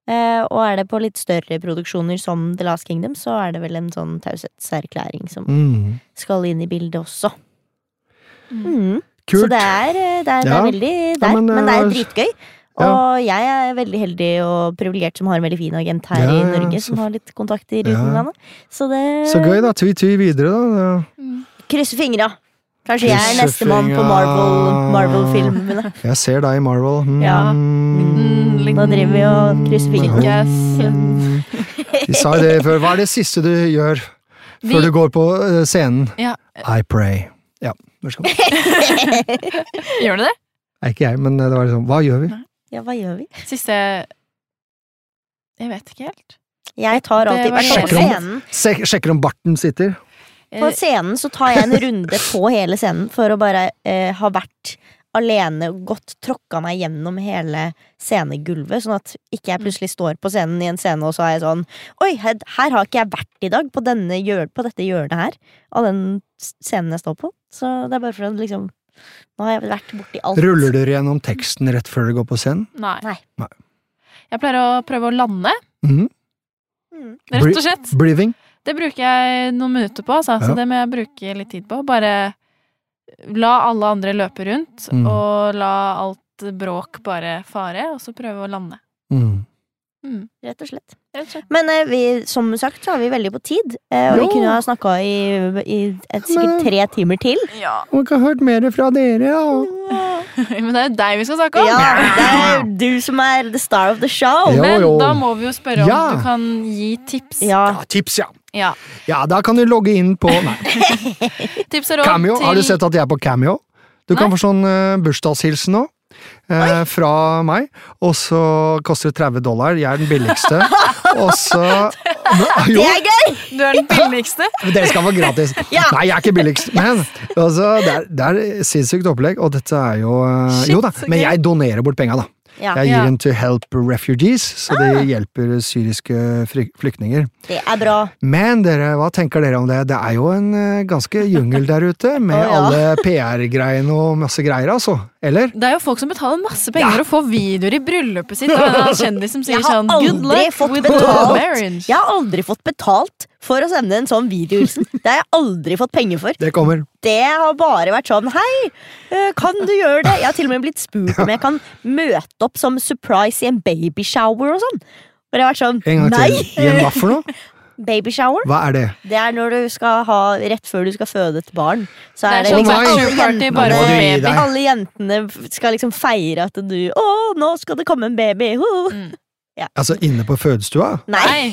[SPEAKER 2] Eh, og er det på litt større produksjoner som The Last Kingdom, så er det vel en sånn taushetserklæring som
[SPEAKER 4] Mm.
[SPEAKER 2] skal inn i bildet også.
[SPEAKER 1] Mm.
[SPEAKER 2] Mm. Så
[SPEAKER 4] Kult!
[SPEAKER 2] det er, eh, det er, det
[SPEAKER 4] Ja.
[SPEAKER 2] er veldig der,
[SPEAKER 4] men,
[SPEAKER 2] men, det er
[SPEAKER 4] eh,
[SPEAKER 2] dritgøy. Og jeg er veldig heldig og privilegert som har en veldig fin agent her
[SPEAKER 4] Ja,
[SPEAKER 2] i
[SPEAKER 4] ja,
[SPEAKER 2] Norge,
[SPEAKER 4] så
[SPEAKER 2] som
[SPEAKER 4] f-
[SPEAKER 2] har litt kontakter
[SPEAKER 4] Ja.
[SPEAKER 2] utenlandet. Så det
[SPEAKER 4] Så gøy, da. Tvi-tvi videre, da.
[SPEAKER 2] Krysser fingra. Kanskje jeg er
[SPEAKER 4] Krysser
[SPEAKER 2] nestemann på
[SPEAKER 4] fingra. Mm.
[SPEAKER 2] Marvel- Marvel-filmene.
[SPEAKER 4] Jeg ser deg i Marvel. Mm.
[SPEAKER 2] Ja.
[SPEAKER 1] Mm, litt-
[SPEAKER 2] Nå driver vi og krysser fingrene.
[SPEAKER 1] Ikke s-
[SPEAKER 4] Mm. Vi sa jo det før. Hva er det siste du gjør før du går på eh, scenen?
[SPEAKER 1] Ja.
[SPEAKER 4] I pray. Ja, vær så god.
[SPEAKER 1] Gjør du det?
[SPEAKER 4] Nei, ikke jeg, men det var liksom Hva gjør vi?
[SPEAKER 2] Ja, hva gjør vi?
[SPEAKER 1] Siste Jeg vet ikke helt.
[SPEAKER 2] Jeg tar alltid
[SPEAKER 1] Det
[SPEAKER 2] på
[SPEAKER 1] varierer.
[SPEAKER 2] scenen.
[SPEAKER 4] Se sjekker om barten sitter. Eh,
[SPEAKER 2] På scenen så tar
[SPEAKER 4] [laughs]
[SPEAKER 2] jeg en runde på hele scenen for å bare eh, ha vært alene og godt tråkka meg gjennom hele scenegulvet, sånn at ikke
[SPEAKER 4] Mm.
[SPEAKER 2] jeg plutselig står på scenen i en scene og så er jeg sånn Oi, her, her har ikke jeg vært i dag, på, denne, hjør- på dette hjørnet her, av den s- scenen jeg står på. Så det er bare for å liksom Nå har jeg vært borti alt.
[SPEAKER 4] Ruller du gjennom teksten rett før du går på scenen?
[SPEAKER 1] Nei.
[SPEAKER 2] Nei.
[SPEAKER 4] Nei.
[SPEAKER 1] Jeg pleier å prøve å lande,
[SPEAKER 4] Mhm.
[SPEAKER 2] Mm.
[SPEAKER 1] rett og slett.
[SPEAKER 4] Breathing.
[SPEAKER 1] Det bruker jeg noen minutter på, altså.
[SPEAKER 4] Ja.
[SPEAKER 1] så det må jeg bruke litt tid på. Bare la alle andre løpe rundt,
[SPEAKER 4] Mm.
[SPEAKER 1] og la alt bråk bare fare, og så prøve å lande.
[SPEAKER 4] Mm.
[SPEAKER 1] Mm.
[SPEAKER 2] Rett og slett.
[SPEAKER 1] Rett og slett.
[SPEAKER 2] Men eh, vi, som sagt så er vi veldig på tid, eh, og vi
[SPEAKER 4] Jo.
[SPEAKER 2] kunne ha snakka i, i et, sikkert
[SPEAKER 4] [laughs] Men-
[SPEAKER 2] tre timer til.
[SPEAKER 1] Ja.
[SPEAKER 4] Og ikke har hørt mer fra dere. Ja.
[SPEAKER 1] [laughs] Men det er jo deg vi skal snakke om!
[SPEAKER 2] Ja, det er jo du som er the star of the show.
[SPEAKER 4] Ja.
[SPEAKER 1] Men
[SPEAKER 4] Jo, jo.
[SPEAKER 1] da må vi jo spørre om
[SPEAKER 4] Ja.
[SPEAKER 1] du kan gi tips.
[SPEAKER 2] Ja.
[SPEAKER 4] ja, tips, ja.
[SPEAKER 1] Ja.
[SPEAKER 4] Ja, da kan du logge inn på nei,
[SPEAKER 1] Tips og råd
[SPEAKER 4] Cameo.
[SPEAKER 1] til
[SPEAKER 4] Har du sett at jeg er på Cameo? Du kan
[SPEAKER 1] Nei.
[SPEAKER 4] få sånn eh, bursdagshilsen nå. eh, fra meg. Og så koster det 30 dollar. Jeg er
[SPEAKER 1] [laughs]
[SPEAKER 4] den billigste. og så Nå-
[SPEAKER 2] Det
[SPEAKER 4] Jo,
[SPEAKER 2] er gøy!
[SPEAKER 1] Du
[SPEAKER 2] [laughs]
[SPEAKER 1] er den billigste.
[SPEAKER 4] Dere skal få gratis.
[SPEAKER 2] Ja.
[SPEAKER 4] Nei, jeg er ikke billigst. Men altså, det, er, det er sinnssykt opplegg, og dette er jo eh,
[SPEAKER 1] Shit,
[SPEAKER 4] Jo da,
[SPEAKER 1] så
[SPEAKER 4] men
[SPEAKER 1] gøy.
[SPEAKER 4] jeg donerer bort penga, da.
[SPEAKER 2] Ja,
[SPEAKER 4] Jeg
[SPEAKER 1] Ja. Ah.
[SPEAKER 4] gir den til Help Refugees, så de hjelper syriske fry- flyktninger.
[SPEAKER 2] det er bra.
[SPEAKER 4] Men dere, hva tenker dere om det? Det er jo en eh, ganske jungel der ute, med
[SPEAKER 2] Å, ja.
[SPEAKER 4] alle PR-greiene og masse greier, altså. Eller?
[SPEAKER 1] Det er jo folk som betaler masse penger og får videoer i bryllupet sitt. Og en eller annen kjendis som sier
[SPEAKER 2] [laughs] Jeg har
[SPEAKER 1] sånn Good
[SPEAKER 2] aldri
[SPEAKER 1] luck
[SPEAKER 2] fått
[SPEAKER 1] with
[SPEAKER 2] betalt.
[SPEAKER 1] the marriage.
[SPEAKER 2] Jeg har aldri fått betalt for å sende en sånn
[SPEAKER 4] [laughs]
[SPEAKER 2] videohilsen. Det har jeg aldri fått penger for.
[SPEAKER 4] Det kommer.
[SPEAKER 2] Det har bare vært sånn Hei, eh, kan du gjøre det? Jeg har til og med blitt spurt
[SPEAKER 4] [laughs]
[SPEAKER 2] om jeg kan møte opp som surprise i en babyshower og sånn. Og det har vært sånn
[SPEAKER 4] En gang til. I en
[SPEAKER 2] Nei!
[SPEAKER 4] hva for noe?
[SPEAKER 2] [laughs] Babyshower,
[SPEAKER 4] Hva er det?
[SPEAKER 2] det er når du skal ha Rett før du skal føde et barn. Så
[SPEAKER 1] Det
[SPEAKER 2] er
[SPEAKER 1] er
[SPEAKER 2] det
[SPEAKER 1] sånn
[SPEAKER 2] liksom
[SPEAKER 4] bachelor
[SPEAKER 2] alle
[SPEAKER 1] party,
[SPEAKER 2] jentene
[SPEAKER 1] bare
[SPEAKER 4] Nå må du gi deg.
[SPEAKER 2] Alle jentene skal liksom feire at du Å, nå skal det komme en baby! Ho.
[SPEAKER 4] Altså inne på fødestua?
[SPEAKER 2] Nei,
[SPEAKER 1] Mm. Nei.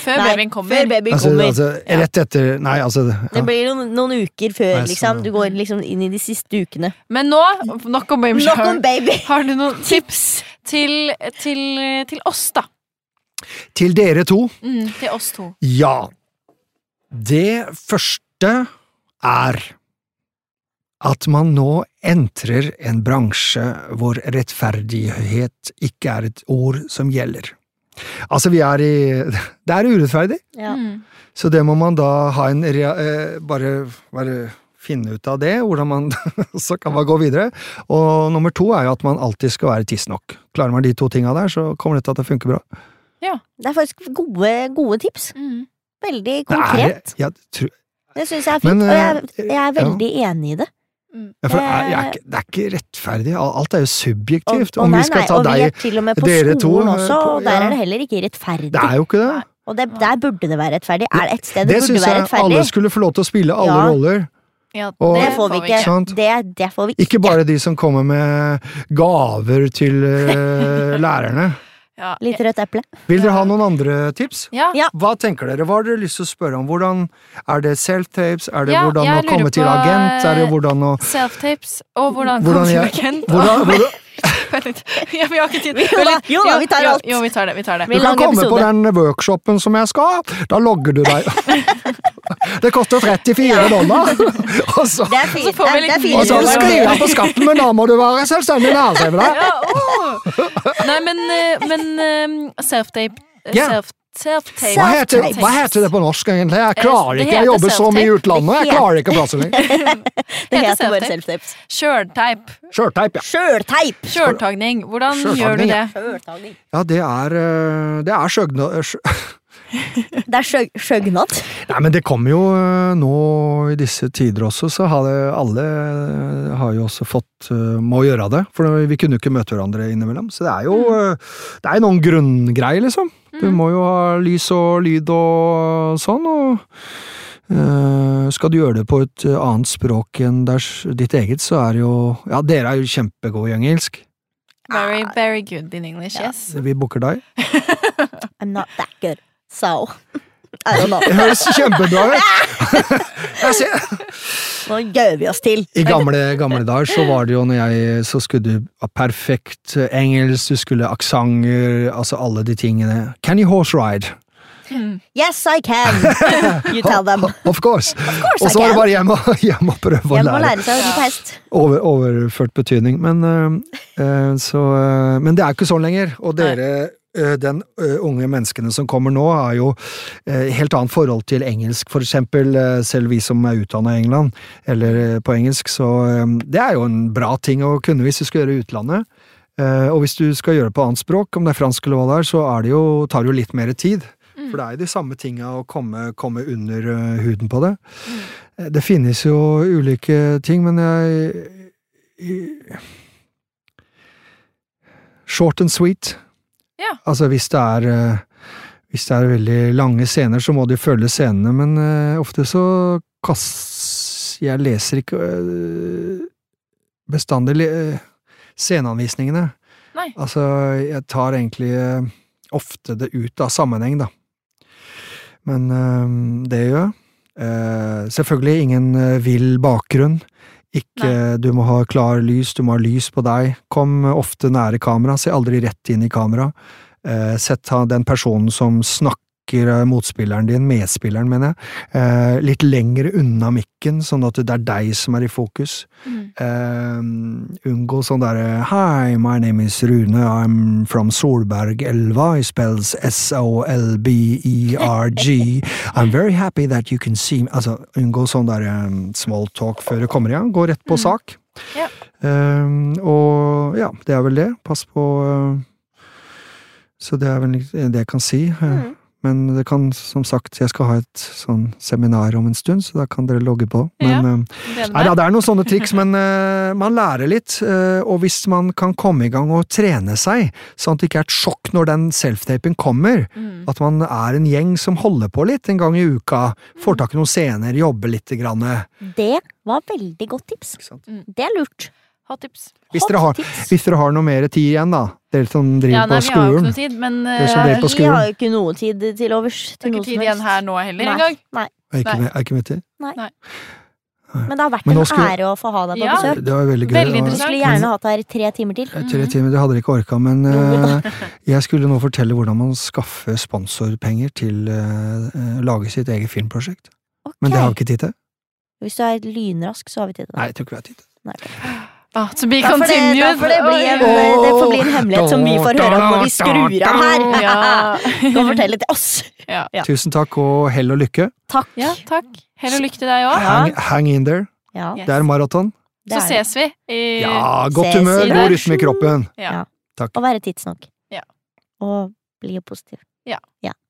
[SPEAKER 1] Før
[SPEAKER 2] nei,
[SPEAKER 1] babyen kommer.
[SPEAKER 2] Før babyen
[SPEAKER 4] Altså,
[SPEAKER 2] kommer.
[SPEAKER 4] altså
[SPEAKER 1] Ja.
[SPEAKER 4] rett etter Nei, altså
[SPEAKER 2] Det
[SPEAKER 4] ja.
[SPEAKER 2] blir noen, noen uker før,
[SPEAKER 4] Nei, sånn,
[SPEAKER 2] liksom.
[SPEAKER 4] ja.
[SPEAKER 2] Du går liksom inn i de siste ukene.
[SPEAKER 1] Men nå, nok om baby
[SPEAKER 2] Nok om
[SPEAKER 1] shower.
[SPEAKER 2] baby!
[SPEAKER 1] Har du noen tips til, til, til oss, da?
[SPEAKER 4] Til dere to.
[SPEAKER 1] Mm, til oss to.
[SPEAKER 4] Ja. Det første er at man nå entrer en bransje hvor rettferdighet ikke er et ord som gjelder. Altså, vi er i Det er urettferdig,
[SPEAKER 2] Ja.
[SPEAKER 1] Mm.
[SPEAKER 4] så det må man da ha en rea, eh, bare, bare finne ut av det, hvordan man [laughs] Så kan man gå videre. Og nummer to er jo at man alltid skal være tidsnok. Klarer man de to tinga der, så kommer dette til å funke bra.
[SPEAKER 2] Det er faktisk gode, gode tips.
[SPEAKER 1] Mm.
[SPEAKER 2] Veldig
[SPEAKER 4] Det er-
[SPEAKER 2] konkret.
[SPEAKER 4] ja, tru-
[SPEAKER 2] Det syns jeg er fint,
[SPEAKER 4] Men,
[SPEAKER 2] og jeg,
[SPEAKER 4] eh,
[SPEAKER 2] jeg er
[SPEAKER 4] ja.
[SPEAKER 2] veldig enig i det.
[SPEAKER 1] Mm.
[SPEAKER 4] Ja, for det er, jeg er
[SPEAKER 2] Eh,
[SPEAKER 4] ikke, det er ikke rettferdig. Al- Alt er jo subjektivt.
[SPEAKER 2] og,
[SPEAKER 4] Om
[SPEAKER 2] nei,
[SPEAKER 4] vi skal
[SPEAKER 2] nei,
[SPEAKER 4] ta
[SPEAKER 2] og vi er
[SPEAKER 4] deg
[SPEAKER 2] til og med på
[SPEAKER 4] dere
[SPEAKER 2] skolen
[SPEAKER 4] to, eh,
[SPEAKER 2] også,
[SPEAKER 4] på-
[SPEAKER 2] og der
[SPEAKER 4] ja.
[SPEAKER 2] er det heller ikke rettferdig.
[SPEAKER 4] Det er jo ikke det.
[SPEAKER 2] Og det, der burde det være rettferdig. Er det et sted det,
[SPEAKER 4] Det
[SPEAKER 2] burde
[SPEAKER 4] syns
[SPEAKER 2] være
[SPEAKER 4] jeg
[SPEAKER 2] rettferdig?
[SPEAKER 4] alle skulle få lov til å spille alle
[SPEAKER 2] Ja.
[SPEAKER 4] roller.
[SPEAKER 1] Ja,
[SPEAKER 4] Og-
[SPEAKER 2] Det får vi ikke.
[SPEAKER 4] Sant.
[SPEAKER 2] Det, det får vi
[SPEAKER 4] Ikke bare de som kommer med gaver
[SPEAKER 2] [laughs]
[SPEAKER 4] til eh, lærerne.
[SPEAKER 1] Ja,
[SPEAKER 2] Litt rødt eple.
[SPEAKER 4] Vil dere ha noen andre tips?
[SPEAKER 1] ja.
[SPEAKER 2] Ja.
[SPEAKER 4] Hva tenker dere? Hva har dere lyst til å spørre om? Hvordan Er det self-tapes? Er det
[SPEAKER 1] Ja,
[SPEAKER 4] hvordan å
[SPEAKER 1] jeg lurer
[SPEAKER 4] komme til
[SPEAKER 1] på,
[SPEAKER 4] agent? Er det hvordan å
[SPEAKER 1] Self-tapes og hvordan, hvordan
[SPEAKER 4] Hvordan jeg-
[SPEAKER 1] konsument
[SPEAKER 2] [laughs]
[SPEAKER 4] hvordan, hvordan,
[SPEAKER 1] [laughs] Vent litt. Ja, vi har ikke tid.
[SPEAKER 2] Jo
[SPEAKER 1] Vent
[SPEAKER 2] da,
[SPEAKER 1] litt.
[SPEAKER 2] jo da, vi tar
[SPEAKER 1] jo,
[SPEAKER 2] alt.
[SPEAKER 1] Jo, vi tar det. Vi tar
[SPEAKER 4] Du
[SPEAKER 1] det.
[SPEAKER 2] Blir lang
[SPEAKER 4] kan komme på
[SPEAKER 2] episode.
[SPEAKER 4] den workshopen som jeg skal! Da logger du
[SPEAKER 2] [laughs]
[SPEAKER 4] deg. Det koster 34 dollar! Og så,
[SPEAKER 2] Det er fint.
[SPEAKER 1] får vi
[SPEAKER 2] Det, det
[SPEAKER 1] litt
[SPEAKER 2] er
[SPEAKER 4] og
[SPEAKER 2] fint.
[SPEAKER 4] så
[SPEAKER 1] videre.
[SPEAKER 4] skriver jeg på skatten, men da må du være selvstendig næringsdrivende!
[SPEAKER 1] Ja, åh. Nei, men, eh, men eh, self-tape eh,
[SPEAKER 4] Ja.
[SPEAKER 1] self, self-tape.
[SPEAKER 4] Hva heter, hva heter det på norsk, egentlig? Jeg klarer ikke, jeg jobber så mye i utlandet. Jeg klarer ikke
[SPEAKER 2] [laughs]
[SPEAKER 4] plassen lenger.
[SPEAKER 2] Det
[SPEAKER 1] Heter
[SPEAKER 2] heter bare
[SPEAKER 1] self-tape.
[SPEAKER 2] self-tapes.
[SPEAKER 1] Kjølteip.
[SPEAKER 4] Sjølteip, ja.
[SPEAKER 2] Sjølteip!
[SPEAKER 1] Kjøltagning. Hvordan
[SPEAKER 4] Kjøltagning,
[SPEAKER 1] gjør du det?
[SPEAKER 4] ja. Ja, det er eh, Det er sjøgna... sjø-
[SPEAKER 2] Det er sjøg sjøgnad.
[SPEAKER 4] Nei, men det kommer jo eh, nå i disse tider også, så har det, alle eh, har jo også fått eh, må gjøre det. For vi kunne jo ikke møte hverandre innimellom. Så det er jo eh, det er jo noen grunngreier, liksom. Du må jo ha lys og lyd og sånn, og eh, skal du gjøre det på et eh, annet språk enn ders, ditt eget, så er det jo Ja, dere er jo kjempegode i engelsk.
[SPEAKER 1] Very, very good in English, yes.
[SPEAKER 4] Vi booker deg.
[SPEAKER 2] I'm not that good, so I don't know.
[SPEAKER 4] Det høres kjempebra ut! [laughs] Jeg ser,
[SPEAKER 2] Nå gjør vi oss til.
[SPEAKER 4] I gamle, gamle dager så var det jo når jeg Så skulle du ha perfekt eh, engelsk, du skulle aksenter, altså alle de tingene. Can you horse ride?
[SPEAKER 2] Yes, I can! You tell them.
[SPEAKER 4] Of course!
[SPEAKER 2] course
[SPEAKER 4] og så
[SPEAKER 2] I
[SPEAKER 4] var det
[SPEAKER 2] can.
[SPEAKER 4] bare hjem og, [laughs] hjem og prøve å
[SPEAKER 2] Jeg må
[SPEAKER 4] lære.
[SPEAKER 2] lære seg å ri på hest.
[SPEAKER 4] Over, overført betydning. Men, eh, eh, så, eh, men det er ikke sånn lenger. Og dere, eh, den eh, unge menneskene som kommer nå, har jo eh, helt annet forhold til engelsk, for eksempel. eh, selv vi som er utdanna i England, eller eh, på engelsk. Så eh, det er jo en bra ting å kunne hvis du skal gjøre i utlandet. Eh, og hvis du skal gjøre det på annet språk, om det er fransk eller hva det er, så er det jo, tar det jo litt mer tid. For det er jo de samme tinga å komme, komme under eh, huden på det. Eh, Det finnes jo ulike ting, men jeg i- Short and sweet.
[SPEAKER 1] Ja.
[SPEAKER 4] Altså hvis det er eh, Hvis det er veldig lange scener, så må de følge scenene, men eh, ofte så kass... Jeg leser ikke eh, bestandig le- eh, sceneanvisningene.
[SPEAKER 1] Nei.
[SPEAKER 4] Altså, jeg tar egentlig eh, ofte det ut av sammenheng, da. Men eh, det gjør jeg. Eh, selvfølgelig ingen eh, vill bakgrunn. Ikke, Du må ha klar lys, du må ha lys på deg. Kom eh, ofte nære kamera, se aldri rett inn i kamera. Eh, sett ha- den personen som snakker eh, motspilleren din, medspilleren, mener jeg, eh, litt lengre unna mikken, sånn at det er deg som er i fokus.
[SPEAKER 1] Mm.
[SPEAKER 4] Um, unngå sånn derre Hi, my name is Rune, I'm from Solbergelva. I spells S-O-L-B-E-R-G. E I'm very happy that you can see me Altså, unngå sånn derre um, small talk før det kommer i gang. Gå rett på sak.
[SPEAKER 1] Mm. Ja.
[SPEAKER 4] Um, og ja, det er vel det. Pass på uh, Så det er vel det jeg kan si. Uh,
[SPEAKER 1] Mm.
[SPEAKER 4] Men det kan, som sagt, jeg skal ha et sånn seminar om en stund, så da kan dere logge på. Men
[SPEAKER 1] Ja.
[SPEAKER 4] um,
[SPEAKER 1] Gleder
[SPEAKER 4] Nei, da,
[SPEAKER 1] meg.
[SPEAKER 4] det er noen sånne triks, men eh, man lærer litt. eh, og hvis man kan komme i gang og trene seg, sånn at det ikke er et sjokk når den self-tapen kommer,
[SPEAKER 1] Mm.
[SPEAKER 4] at man er en gjeng som holder på litt en gang i uka, får tak i noen scener, jobber litt. Grann, eh.
[SPEAKER 2] Det var veldig godt tips.
[SPEAKER 4] Ikke sant?
[SPEAKER 2] Det er lurt.
[SPEAKER 1] Hot tips.
[SPEAKER 4] hvis, dere har,
[SPEAKER 2] tips.
[SPEAKER 4] hvis dere har noe mer tid igjen, da, dere som driver
[SPEAKER 1] Ja, nei,
[SPEAKER 4] på
[SPEAKER 1] vi har jo ikke
[SPEAKER 4] skolen.
[SPEAKER 1] noe tid, men
[SPEAKER 4] Det som
[SPEAKER 1] eh,
[SPEAKER 4] dere på
[SPEAKER 2] Vi
[SPEAKER 4] skolen.
[SPEAKER 2] har jo ikke noe tid til overs.
[SPEAKER 1] det er
[SPEAKER 2] Til
[SPEAKER 1] ikke
[SPEAKER 2] noe
[SPEAKER 1] tid
[SPEAKER 2] som
[SPEAKER 1] igjen
[SPEAKER 2] helst.
[SPEAKER 1] her nå heller
[SPEAKER 2] Nei,
[SPEAKER 1] engang.
[SPEAKER 2] nei.
[SPEAKER 4] Er ikke,
[SPEAKER 1] Nei.
[SPEAKER 4] med, er ikke med tid?
[SPEAKER 2] Men det har vært
[SPEAKER 4] Men nå
[SPEAKER 2] en
[SPEAKER 4] skulle-
[SPEAKER 2] ære å få ha deg på
[SPEAKER 1] Ja.
[SPEAKER 2] besøk.
[SPEAKER 4] Det var veldig gøy.
[SPEAKER 1] Veldig
[SPEAKER 4] og-
[SPEAKER 2] Vi
[SPEAKER 1] interessant.
[SPEAKER 2] skulle gjerne hatt deg her i tre timer til.
[SPEAKER 4] Tre timer, det hadde dere ikke
[SPEAKER 1] [laughs]
[SPEAKER 4] orka, men eh, jeg skulle nå fortelle hvordan man skaffer sponsorpenger til eh, eh, lage sitt eget filmprosjekt. Men det har vi
[SPEAKER 2] Ok.
[SPEAKER 4] ikke tid til.
[SPEAKER 2] Hvis du er lynrask, så har vi tid til det.
[SPEAKER 4] Nei, jeg tror ikke vi har tid til
[SPEAKER 2] Nei, ok.
[SPEAKER 1] Ah, to be
[SPEAKER 2] Da får det, da
[SPEAKER 1] continued.
[SPEAKER 2] får det, bli en,
[SPEAKER 4] Oi.
[SPEAKER 2] det får bli en hemmelighet som vi får høre om når vi skrur av her. [laughs]
[SPEAKER 1] Åh,
[SPEAKER 2] Du må
[SPEAKER 1] ja. [laughs]
[SPEAKER 2] fortelle til oss. Ja.
[SPEAKER 4] Tusen takk og hell og lykke.
[SPEAKER 2] Takk.
[SPEAKER 1] ja, takk. Hell og lykke til deg òg.
[SPEAKER 4] Hang, hang in there.
[SPEAKER 2] Ja,
[SPEAKER 1] Yes.
[SPEAKER 4] Det er maraton.
[SPEAKER 2] det
[SPEAKER 1] Så
[SPEAKER 2] er det.
[SPEAKER 1] ses vi i
[SPEAKER 4] Ja, godt
[SPEAKER 2] Eh, Ses i
[SPEAKER 4] humør, god
[SPEAKER 1] dag.
[SPEAKER 4] rytme i kroppen.
[SPEAKER 1] Ja.
[SPEAKER 2] Å være tidsnok.
[SPEAKER 1] Ja.
[SPEAKER 2] Og bli positiv.
[SPEAKER 1] Ja.
[SPEAKER 2] ja.